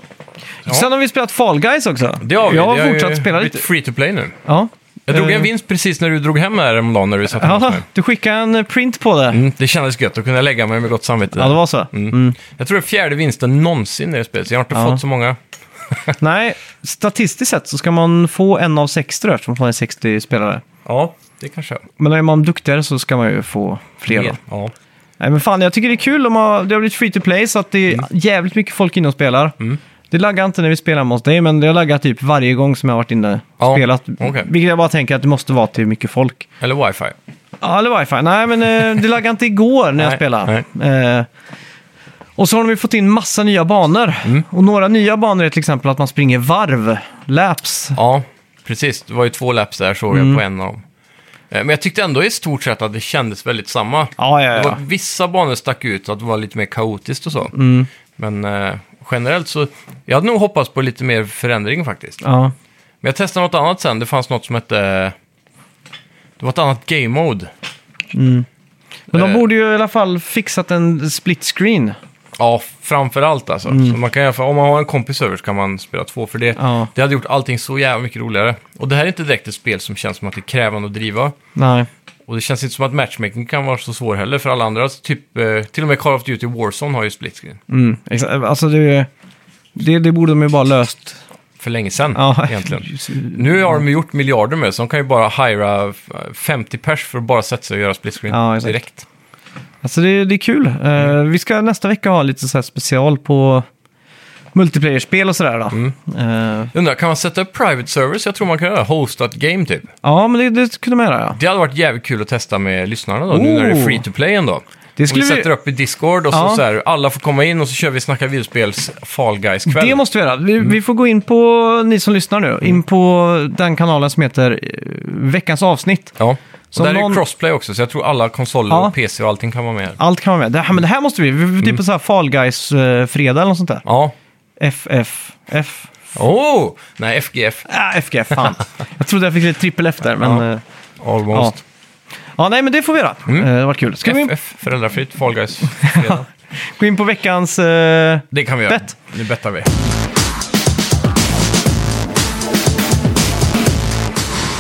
[SPEAKER 1] Sen har vi spelat Fall Guys också.
[SPEAKER 2] Det har
[SPEAKER 1] Mm. Jag
[SPEAKER 2] vi. Det
[SPEAKER 1] har
[SPEAKER 2] har ju
[SPEAKER 1] fortsatt spela lite.
[SPEAKER 2] blivit free to play nu.
[SPEAKER 1] Ja.
[SPEAKER 2] Jag drog
[SPEAKER 1] Eh,
[SPEAKER 2] en vinst precis när du drog hem här häromdagen när du satt hos
[SPEAKER 1] Jaha,
[SPEAKER 2] mig.
[SPEAKER 1] du skickade en eh, print på det.
[SPEAKER 2] Mm, det kändes gött att kunna lägga mig med gott samvete.
[SPEAKER 1] Ja, det var så.
[SPEAKER 2] Mm. Jag tror det är fjärde vinsten någonsin i det spelet, så jag har inte
[SPEAKER 1] Ja.
[SPEAKER 2] fått så många.
[SPEAKER 1] Nej, statistiskt sett så ska man få en av 60 då, eftersom man är 60 spelare.
[SPEAKER 2] Ja, det kanske jag.
[SPEAKER 1] Men är man duktigare så ska man ju få fler då.
[SPEAKER 2] Ja.
[SPEAKER 1] Nej, men fan, jag tycker det är kul. De har, det har blivit free to play så att det
[SPEAKER 2] Mm.
[SPEAKER 1] är jävligt mycket folk inne och spelar. Det laggar inte när vi spelar hos dig, men det har laggat typ varje gång som jag har varit inne och
[SPEAKER 2] Ja,
[SPEAKER 1] spelat.
[SPEAKER 2] okej.
[SPEAKER 1] Vilket jag bara tänker att det måste vara till mycket folk.
[SPEAKER 2] Eller wifi.
[SPEAKER 1] Ja, eller wifi. Nej, men eh, det laggade inte igår när jag
[SPEAKER 2] Nej,
[SPEAKER 1] spelade. Eh, och så har de ju fått in massa nya banor.
[SPEAKER 2] Mm.
[SPEAKER 1] Och några nya banor är till exempel att man springer varv, laps.
[SPEAKER 2] Ja, precis. Det var ju två laps där såg
[SPEAKER 1] Mm.
[SPEAKER 2] jag på en av dem. Eh, Men jag tyckte ändå i stort sett att det kändes väldigt samma.
[SPEAKER 1] Ja, ja,
[SPEAKER 2] Det
[SPEAKER 1] ja.
[SPEAKER 2] var, vissa banor stack ut, att det var lite mer kaotiskt och så.
[SPEAKER 1] Mm.
[SPEAKER 2] Men eh, generellt så, jag hade nog hoppats på lite mer förändring faktiskt.
[SPEAKER 1] Ja,
[SPEAKER 2] Men jag testade något annat sen, det fanns något som hette... Det var ett annat game mode.
[SPEAKER 1] Men de
[SPEAKER 2] Eh.
[SPEAKER 1] borde ju i alla fall fixat en split screen.
[SPEAKER 2] Ja, framför allt alltså. Så man kan, i alla fall- om man har en kompis över så kan man spela två, för det,
[SPEAKER 1] Mm. Ja.
[SPEAKER 2] det hade gjort allting så jävla mycket roligare. Och det här är inte direkt ett spel som känns som att det är krävande att driva.
[SPEAKER 1] Nej.
[SPEAKER 2] Och det känns inte som att matchmaking kan vara så svår heller för alla andra. Alltså, typ, eh, till och med Call of Duty Warzone har ju split screen.
[SPEAKER 1] Mm, exa- alltså det, det, det borde de ju bara löst.
[SPEAKER 2] För länge sedan
[SPEAKER 1] Ja,
[SPEAKER 2] egentligen. Nu har de ju gjort miljarder med det, så de kan ju bara hyra f- 50 pers för att bara sätta sig och göra split screen
[SPEAKER 1] Ja, exakt.
[SPEAKER 2] direkt.
[SPEAKER 1] Alltså det, det är kul. Eh,
[SPEAKER 2] Mm.
[SPEAKER 1] vi ska nästa vecka ha lite så här special på multiplayer-spel och sådär då.
[SPEAKER 2] Mm.
[SPEAKER 1] Eh,
[SPEAKER 2] Jag Undrar, kan man sätta upp private servers? Jag tror man kan göra hosta ett game typ.
[SPEAKER 1] ja, men det, det kunde man göra ja.
[SPEAKER 2] Det hade varit jävligt kul att testa med lyssnarna då, nu när det är
[SPEAKER 1] Oh.
[SPEAKER 2] free to play ändå.
[SPEAKER 1] Det
[SPEAKER 2] Om vi
[SPEAKER 1] skulle vi-
[SPEAKER 2] sätter upp i Discord och
[SPEAKER 1] Ja.
[SPEAKER 2] så, så här, alla får komma in och så kör vi Snacka videospels Fall Guys-kväll.
[SPEAKER 1] Det måste vi göra.
[SPEAKER 2] Mm.
[SPEAKER 1] Vi, vi får gå in på, ni som lyssnar nu, in på den kanalen som heter eh, veckans avsnitt.
[SPEAKER 2] Ja.
[SPEAKER 1] Som
[SPEAKER 2] Och där är
[SPEAKER 1] någon-
[SPEAKER 2] ju crossplay också, så jag tror alla konsoler
[SPEAKER 1] Ja.
[SPEAKER 2] och PC och allting kan vara med här.
[SPEAKER 1] Allt kan vara med. Det här, men det här måste vi. vi vi-
[SPEAKER 2] Mm.
[SPEAKER 1] typ en så här Fall Guys-fredag eller något sånt där.
[SPEAKER 2] Ja.
[SPEAKER 1] FF. F.
[SPEAKER 2] Oh! Nej, FGF.
[SPEAKER 1] Ah, FGF, fan. jag trodde jag fick lite trippel F där, men...
[SPEAKER 2] Ja.
[SPEAKER 1] eh, Ja.
[SPEAKER 2] Almost.
[SPEAKER 1] ja, nej, men det får vi göra.
[SPEAKER 2] Mm.
[SPEAKER 1] Eh, det var kul. Ska vi in,
[SPEAKER 2] FF, föräldrafritt, Fall Guys. Fredag.
[SPEAKER 1] gå in på veckans... eh,
[SPEAKER 2] Det kan vi göra.
[SPEAKER 1] Bett.
[SPEAKER 2] Nu bettar vi.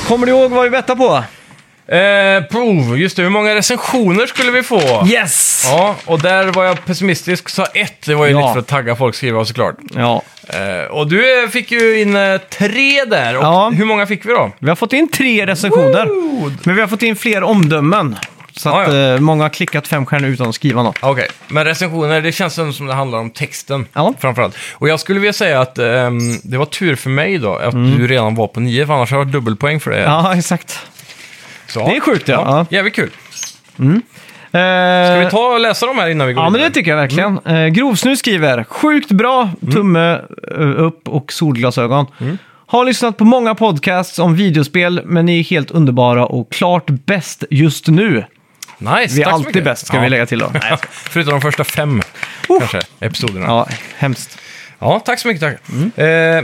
[SPEAKER 1] Kommer du ihåg vad vi bettade på?
[SPEAKER 2] Eh, prov, just det. Hur många recensioner skulle vi få?
[SPEAKER 1] Yes! Ja.
[SPEAKER 2] Ja, och där var jag pessimistisk, sa ett. Det var ju
[SPEAKER 1] Ja.
[SPEAKER 2] lite för att tagga folk skriva såklart. Eh, och du eh, fick ju in eh, tre där. Och
[SPEAKER 1] Ja.
[SPEAKER 2] Hur många fick vi då?
[SPEAKER 1] Vi har fått in tre recensioner,
[SPEAKER 2] Woo!
[SPEAKER 1] men vi har fått in fler omdömen. Så att
[SPEAKER 2] Ja, ja.
[SPEAKER 1] eh, många har klickat fem stjärnor utan att skriva något.
[SPEAKER 2] Okej, men recensioner, det känns ändå som det handlar om texten
[SPEAKER 1] Ja.
[SPEAKER 2] framförallt. Och jag skulle vilja säga att ehm, det var tur för mig då, att du redan var på nio, för annars hade jag varit dubbelpoäng för det.
[SPEAKER 1] Mm. Ja, exakt.
[SPEAKER 2] Så,
[SPEAKER 1] Det är sjukt, ja.
[SPEAKER 2] ja. Jävligt kul. Ska vi ta och läsa dem här innan vi går
[SPEAKER 1] Eh, Ja, men
[SPEAKER 2] vidare?
[SPEAKER 1] det tycker jag verkligen. Mm. Grovsnu skriver, sjukt bra,
[SPEAKER 2] Mm.
[SPEAKER 1] tumme eh, upp och solglasögon. Har lyssnat på många podcasts om videospel, men ni är helt underbara och klart bäst just nu.
[SPEAKER 2] Nice,
[SPEAKER 1] Vi är
[SPEAKER 2] tack så
[SPEAKER 1] alltid
[SPEAKER 2] mycket.
[SPEAKER 1] bäst, ska
[SPEAKER 2] Ja.
[SPEAKER 1] vi lägga till då. Nej.
[SPEAKER 2] Förutom de första fem kanske, episoderna. Ja.
[SPEAKER 1] Ja, hemskt.
[SPEAKER 2] tack så mycket. Tack. Eh,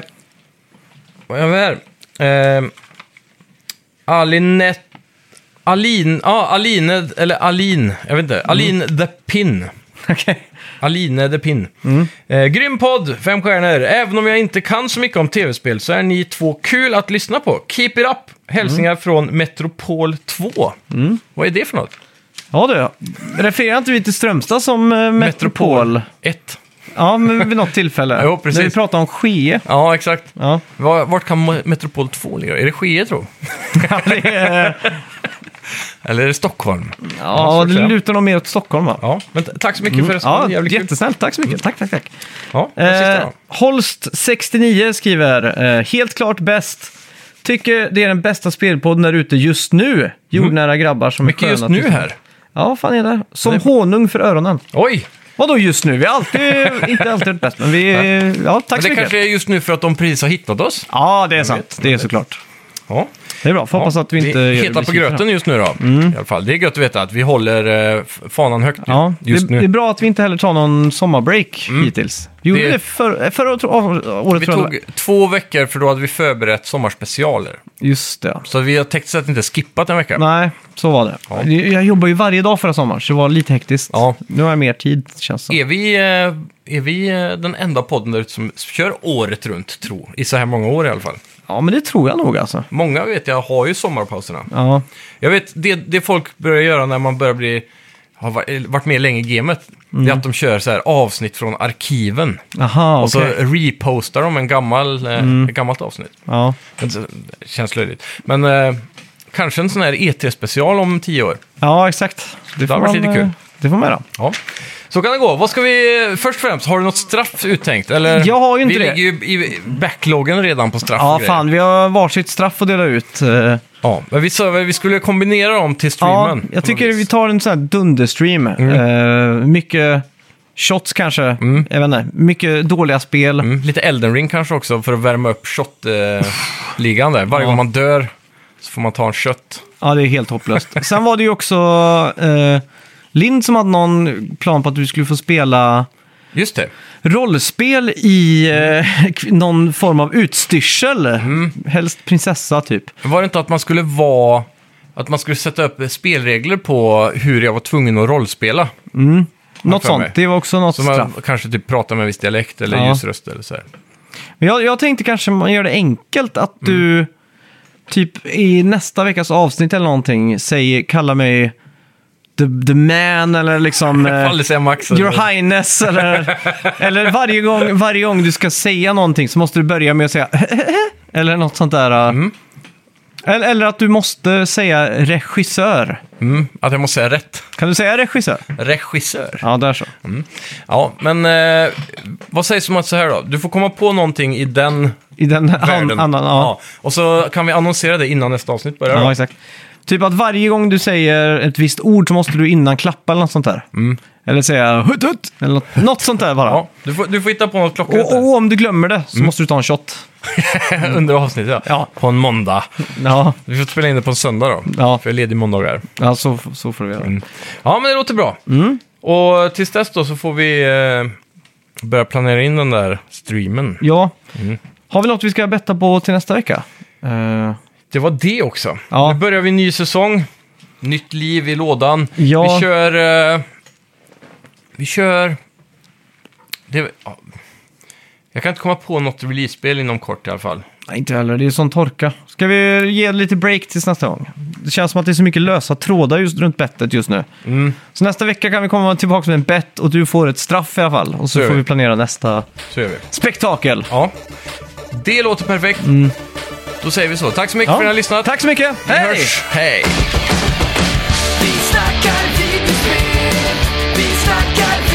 [SPEAKER 2] vad har vi här? Eh, Alinet... Alin... Ja, Aline... Eller Alin. Jag vet inte. Alin the Pin.
[SPEAKER 1] Okej.
[SPEAKER 2] Aline the Pin. Eh, grym podd, fem stjärnor. Även om jag inte kan så mycket om tv-spel så är ni två kul att lyssna på. Keep it up! Hälsningar från Metropol 2. Vad är det för något?
[SPEAKER 1] Ja du, refererar inte vi till Strömstad som eh, metropol?
[SPEAKER 2] 1.
[SPEAKER 1] Ja, men vid något tillfälle.
[SPEAKER 2] Jo, precis.
[SPEAKER 1] När vi pratade om Skee.
[SPEAKER 2] Ja, exakt.
[SPEAKER 1] Ja,
[SPEAKER 2] Var, vart kan Mo- Metropol 2 ligga? Är det Skee, tror
[SPEAKER 1] det, är-
[SPEAKER 2] Eller är det Stockholm?
[SPEAKER 1] ja
[SPEAKER 2] så
[SPEAKER 1] det
[SPEAKER 2] tror jag.
[SPEAKER 1] lutar nog mer åt Stockholm va?
[SPEAKER 2] Ja, men t- tack så mycket för
[SPEAKER 1] Mm. Ja,
[SPEAKER 2] recensionen. Jävligt kul.
[SPEAKER 1] jättesnällt. Tack så mycket. Tack, tack, tack.
[SPEAKER 2] Ja, den sista
[SPEAKER 1] Eh,
[SPEAKER 2] då.
[SPEAKER 1] Holst69 skriver, eh, helt klart bäst. Tycker det är den bästa spelpodden där ute just nu. Jordnära grabbar som
[SPEAKER 2] Mm. Mycket
[SPEAKER 1] är
[SPEAKER 2] just
[SPEAKER 1] sköna
[SPEAKER 2] nu
[SPEAKER 1] till-
[SPEAKER 2] här.
[SPEAKER 1] Ja, fan är det? Som honung för öronen.
[SPEAKER 2] Oj!
[SPEAKER 1] Vadå just nu? Vi har alltid, inte alltid varit bäst, men vi... Ja, tack
[SPEAKER 2] Men
[SPEAKER 1] så
[SPEAKER 2] det
[SPEAKER 1] mycket.
[SPEAKER 2] kanske är just nu för att de precis har hittat oss.
[SPEAKER 1] Ja, det är sant. Det är såklart.
[SPEAKER 2] Ja.
[SPEAKER 1] Det är bra, får hoppas att vi inte...
[SPEAKER 2] Vi
[SPEAKER 1] gör
[SPEAKER 2] hetar på
[SPEAKER 1] besvikna.
[SPEAKER 2] gröten just nu då. I alla fall. Det är gött att veta att vi håller eh, f- fanan högt
[SPEAKER 1] Ja,
[SPEAKER 2] just
[SPEAKER 1] det,
[SPEAKER 2] nu.
[SPEAKER 1] det
[SPEAKER 2] Mm.
[SPEAKER 1] är bra att vi inte heller tar någon sommarbreak hittills. Vi gjorde
[SPEAKER 2] Det-
[SPEAKER 1] det, för, förra tro- av- året
[SPEAKER 2] vi
[SPEAKER 1] tror jag. det
[SPEAKER 2] tog två veckor för då hade vi förberett sommarspecialer.
[SPEAKER 1] var. Just det.
[SPEAKER 2] Så vi har täckt så att inte skippat en vecka.
[SPEAKER 1] Nej, så var det.
[SPEAKER 2] Ja.
[SPEAKER 1] Jag jobbar ju varje dag förra sommaren, så det var lite hektiskt.
[SPEAKER 2] Ja. E-
[SPEAKER 1] Nu har jag mer tid, känns det som.
[SPEAKER 2] Är vi, eh, är vi eh, den enda podden där ute som kör året runt, tro? I så här många år i alla fall.
[SPEAKER 1] Ja, men det tror jag nog alltså.
[SPEAKER 2] Många vet jag har ju sommarpauserna.
[SPEAKER 1] Ja,
[SPEAKER 2] Jag vet, det, det folk börjar göra när man börjar bli, har va- eller varit med länge i gamet, det
[SPEAKER 1] Mm.
[SPEAKER 2] är att de kör så här avsnitt från arkiven.
[SPEAKER 1] aha,
[SPEAKER 2] Och så
[SPEAKER 1] okej. Mm.
[SPEAKER 2] repostar de en gammal, eh, ett gammalt avsnitt.
[SPEAKER 1] Ja.
[SPEAKER 2] Det känns löjligt. Men eh, kanske en sån här ET-special om tio år.
[SPEAKER 1] ja, exakt. Det,
[SPEAKER 2] hade
[SPEAKER 1] får
[SPEAKER 2] varit
[SPEAKER 1] man,
[SPEAKER 2] lite
[SPEAKER 1] eh, Det får man göra.
[SPEAKER 2] Ja. Så kan det gå. Vad ska vi... Först och främst, har du något straff uttänkt? Eller?
[SPEAKER 1] Jag har ju inte
[SPEAKER 2] vi
[SPEAKER 1] det.
[SPEAKER 2] ligger ju i backloggen redan på straff
[SPEAKER 1] Ja,
[SPEAKER 2] och grejer.
[SPEAKER 1] fan, vi har varsitt straff att dela ut. eh.
[SPEAKER 2] Ja, men vi sa väl vi skulle kombinera dem till
[SPEAKER 1] Ja,
[SPEAKER 2] streamen. på
[SPEAKER 1] jag
[SPEAKER 2] något
[SPEAKER 1] tycker
[SPEAKER 2] vis. Mm.
[SPEAKER 1] vi tar en sån här dunderstream. Eh, mycket shots kanske, jag vet inte. Mycket dåliga spel.
[SPEAKER 2] Mm, lite Elden Ring kanske också, för att värma upp shot-ligan där. Varje
[SPEAKER 1] Ja.
[SPEAKER 2] gång man dör så får man ta en shot.
[SPEAKER 1] Ja, det är helt hopplöst. Sen var det ju också eh, Lind som hade någon plan på att du skulle få spela
[SPEAKER 2] Just det.
[SPEAKER 1] rollspel i eh, kv- någon form av utstyrsel.
[SPEAKER 2] Mm.
[SPEAKER 1] Helst prinsessa typ.
[SPEAKER 2] Var det inte att man skulle vara... Att man skulle sätta upp spelregler på hur jag var tvungen att rollspela.
[SPEAKER 1] Något
[SPEAKER 2] för mig.
[SPEAKER 1] sånt. Det var också något
[SPEAKER 2] Så
[SPEAKER 1] straff.
[SPEAKER 2] man kanske typ pratar med en viss dialekt eller
[SPEAKER 1] Ja. Eh,
[SPEAKER 2] ljusröst eller så här.
[SPEAKER 1] Men jag, jag tänkte kanske man gör det enkelt att du typ i nästa veckas avsnitt eller någonting säger, kalla mig the, the man eller liksom... eh,
[SPEAKER 2] Falle säga Max.
[SPEAKER 1] Your
[SPEAKER 2] eller-
[SPEAKER 1] Highness eller, eller varje, gång, varje gång du ska säga någonting så måste du börja med att säga eller något sånt där. eh. Eller, eller att du måste säga regissör.
[SPEAKER 2] Mm, att jag måste säga rätt.
[SPEAKER 1] Kan du säga regissör?
[SPEAKER 2] Regissör.
[SPEAKER 1] Ja, där så.
[SPEAKER 2] Ja, men eh, vad sägs om att så här då? Du får komma på någonting i den
[SPEAKER 1] I den
[SPEAKER 2] världen.
[SPEAKER 1] an, annan, ja.
[SPEAKER 2] Och så kan vi annonsera det innan nästa avsnitt börjar.
[SPEAKER 1] Ja,
[SPEAKER 2] då.
[SPEAKER 1] exakt. Typ att varje gång du säger ett visst ord så måste du innan klappa eller något sånt där. Eller säga hutt hutt eller något, något sånt där bara.
[SPEAKER 2] Mm. ja, Mm. du, får, du får hitta på något klockrent
[SPEAKER 1] Och,
[SPEAKER 2] där.
[SPEAKER 1] och om du glömmer det så måste du ta en shot.
[SPEAKER 2] under avsnittet. Ja.
[SPEAKER 1] Ja.
[SPEAKER 2] På en måndag.
[SPEAKER 1] Ja,
[SPEAKER 2] Vi får spela in det på en söndag då.
[SPEAKER 1] Ja.
[SPEAKER 2] För jag är ledig måndagar.
[SPEAKER 1] ja så, så får du göra.
[SPEAKER 2] Mm. Ja, men det låter bra.
[SPEAKER 1] Mm.
[SPEAKER 2] Och tills dess då så får vi eh, börja planera in den där streamen.
[SPEAKER 1] Ja.
[SPEAKER 2] Mm.
[SPEAKER 1] Har vi något vi ska betta på till nästa vecka? Eh,
[SPEAKER 2] Det var det också.
[SPEAKER 1] Ja.
[SPEAKER 2] Nu börjar vi en ny säsong. Nytt liv i lådan.
[SPEAKER 1] Ja.
[SPEAKER 2] Vi kör... eh, vi kör... Det, ja. Jag kan inte komma på något release-spel inom kort i alla fall.
[SPEAKER 1] nej, inte heller. Det är ju sån torka. Ska vi ge lite break tills nästa gång? Det känns som att det är så mycket lösa trådar just runt bettet just nu.
[SPEAKER 2] Mm.
[SPEAKER 1] Så nästa vecka kan vi komma tillbaka med en bett och du får ett straff i alla fall. Och
[SPEAKER 2] Så
[SPEAKER 1] så
[SPEAKER 2] gör
[SPEAKER 1] får
[SPEAKER 2] vi.
[SPEAKER 1] vi planera nästa
[SPEAKER 2] Så gör vi.
[SPEAKER 1] spektakel.
[SPEAKER 2] Ja. Det låter perfekt. Då säger vi så. Tack så mycket för att ni har lyssnat.
[SPEAKER 1] Tack så mycket!
[SPEAKER 2] Vi hörs. Hej!
[SPEAKER 3] Vi snackar videospel, vi snackar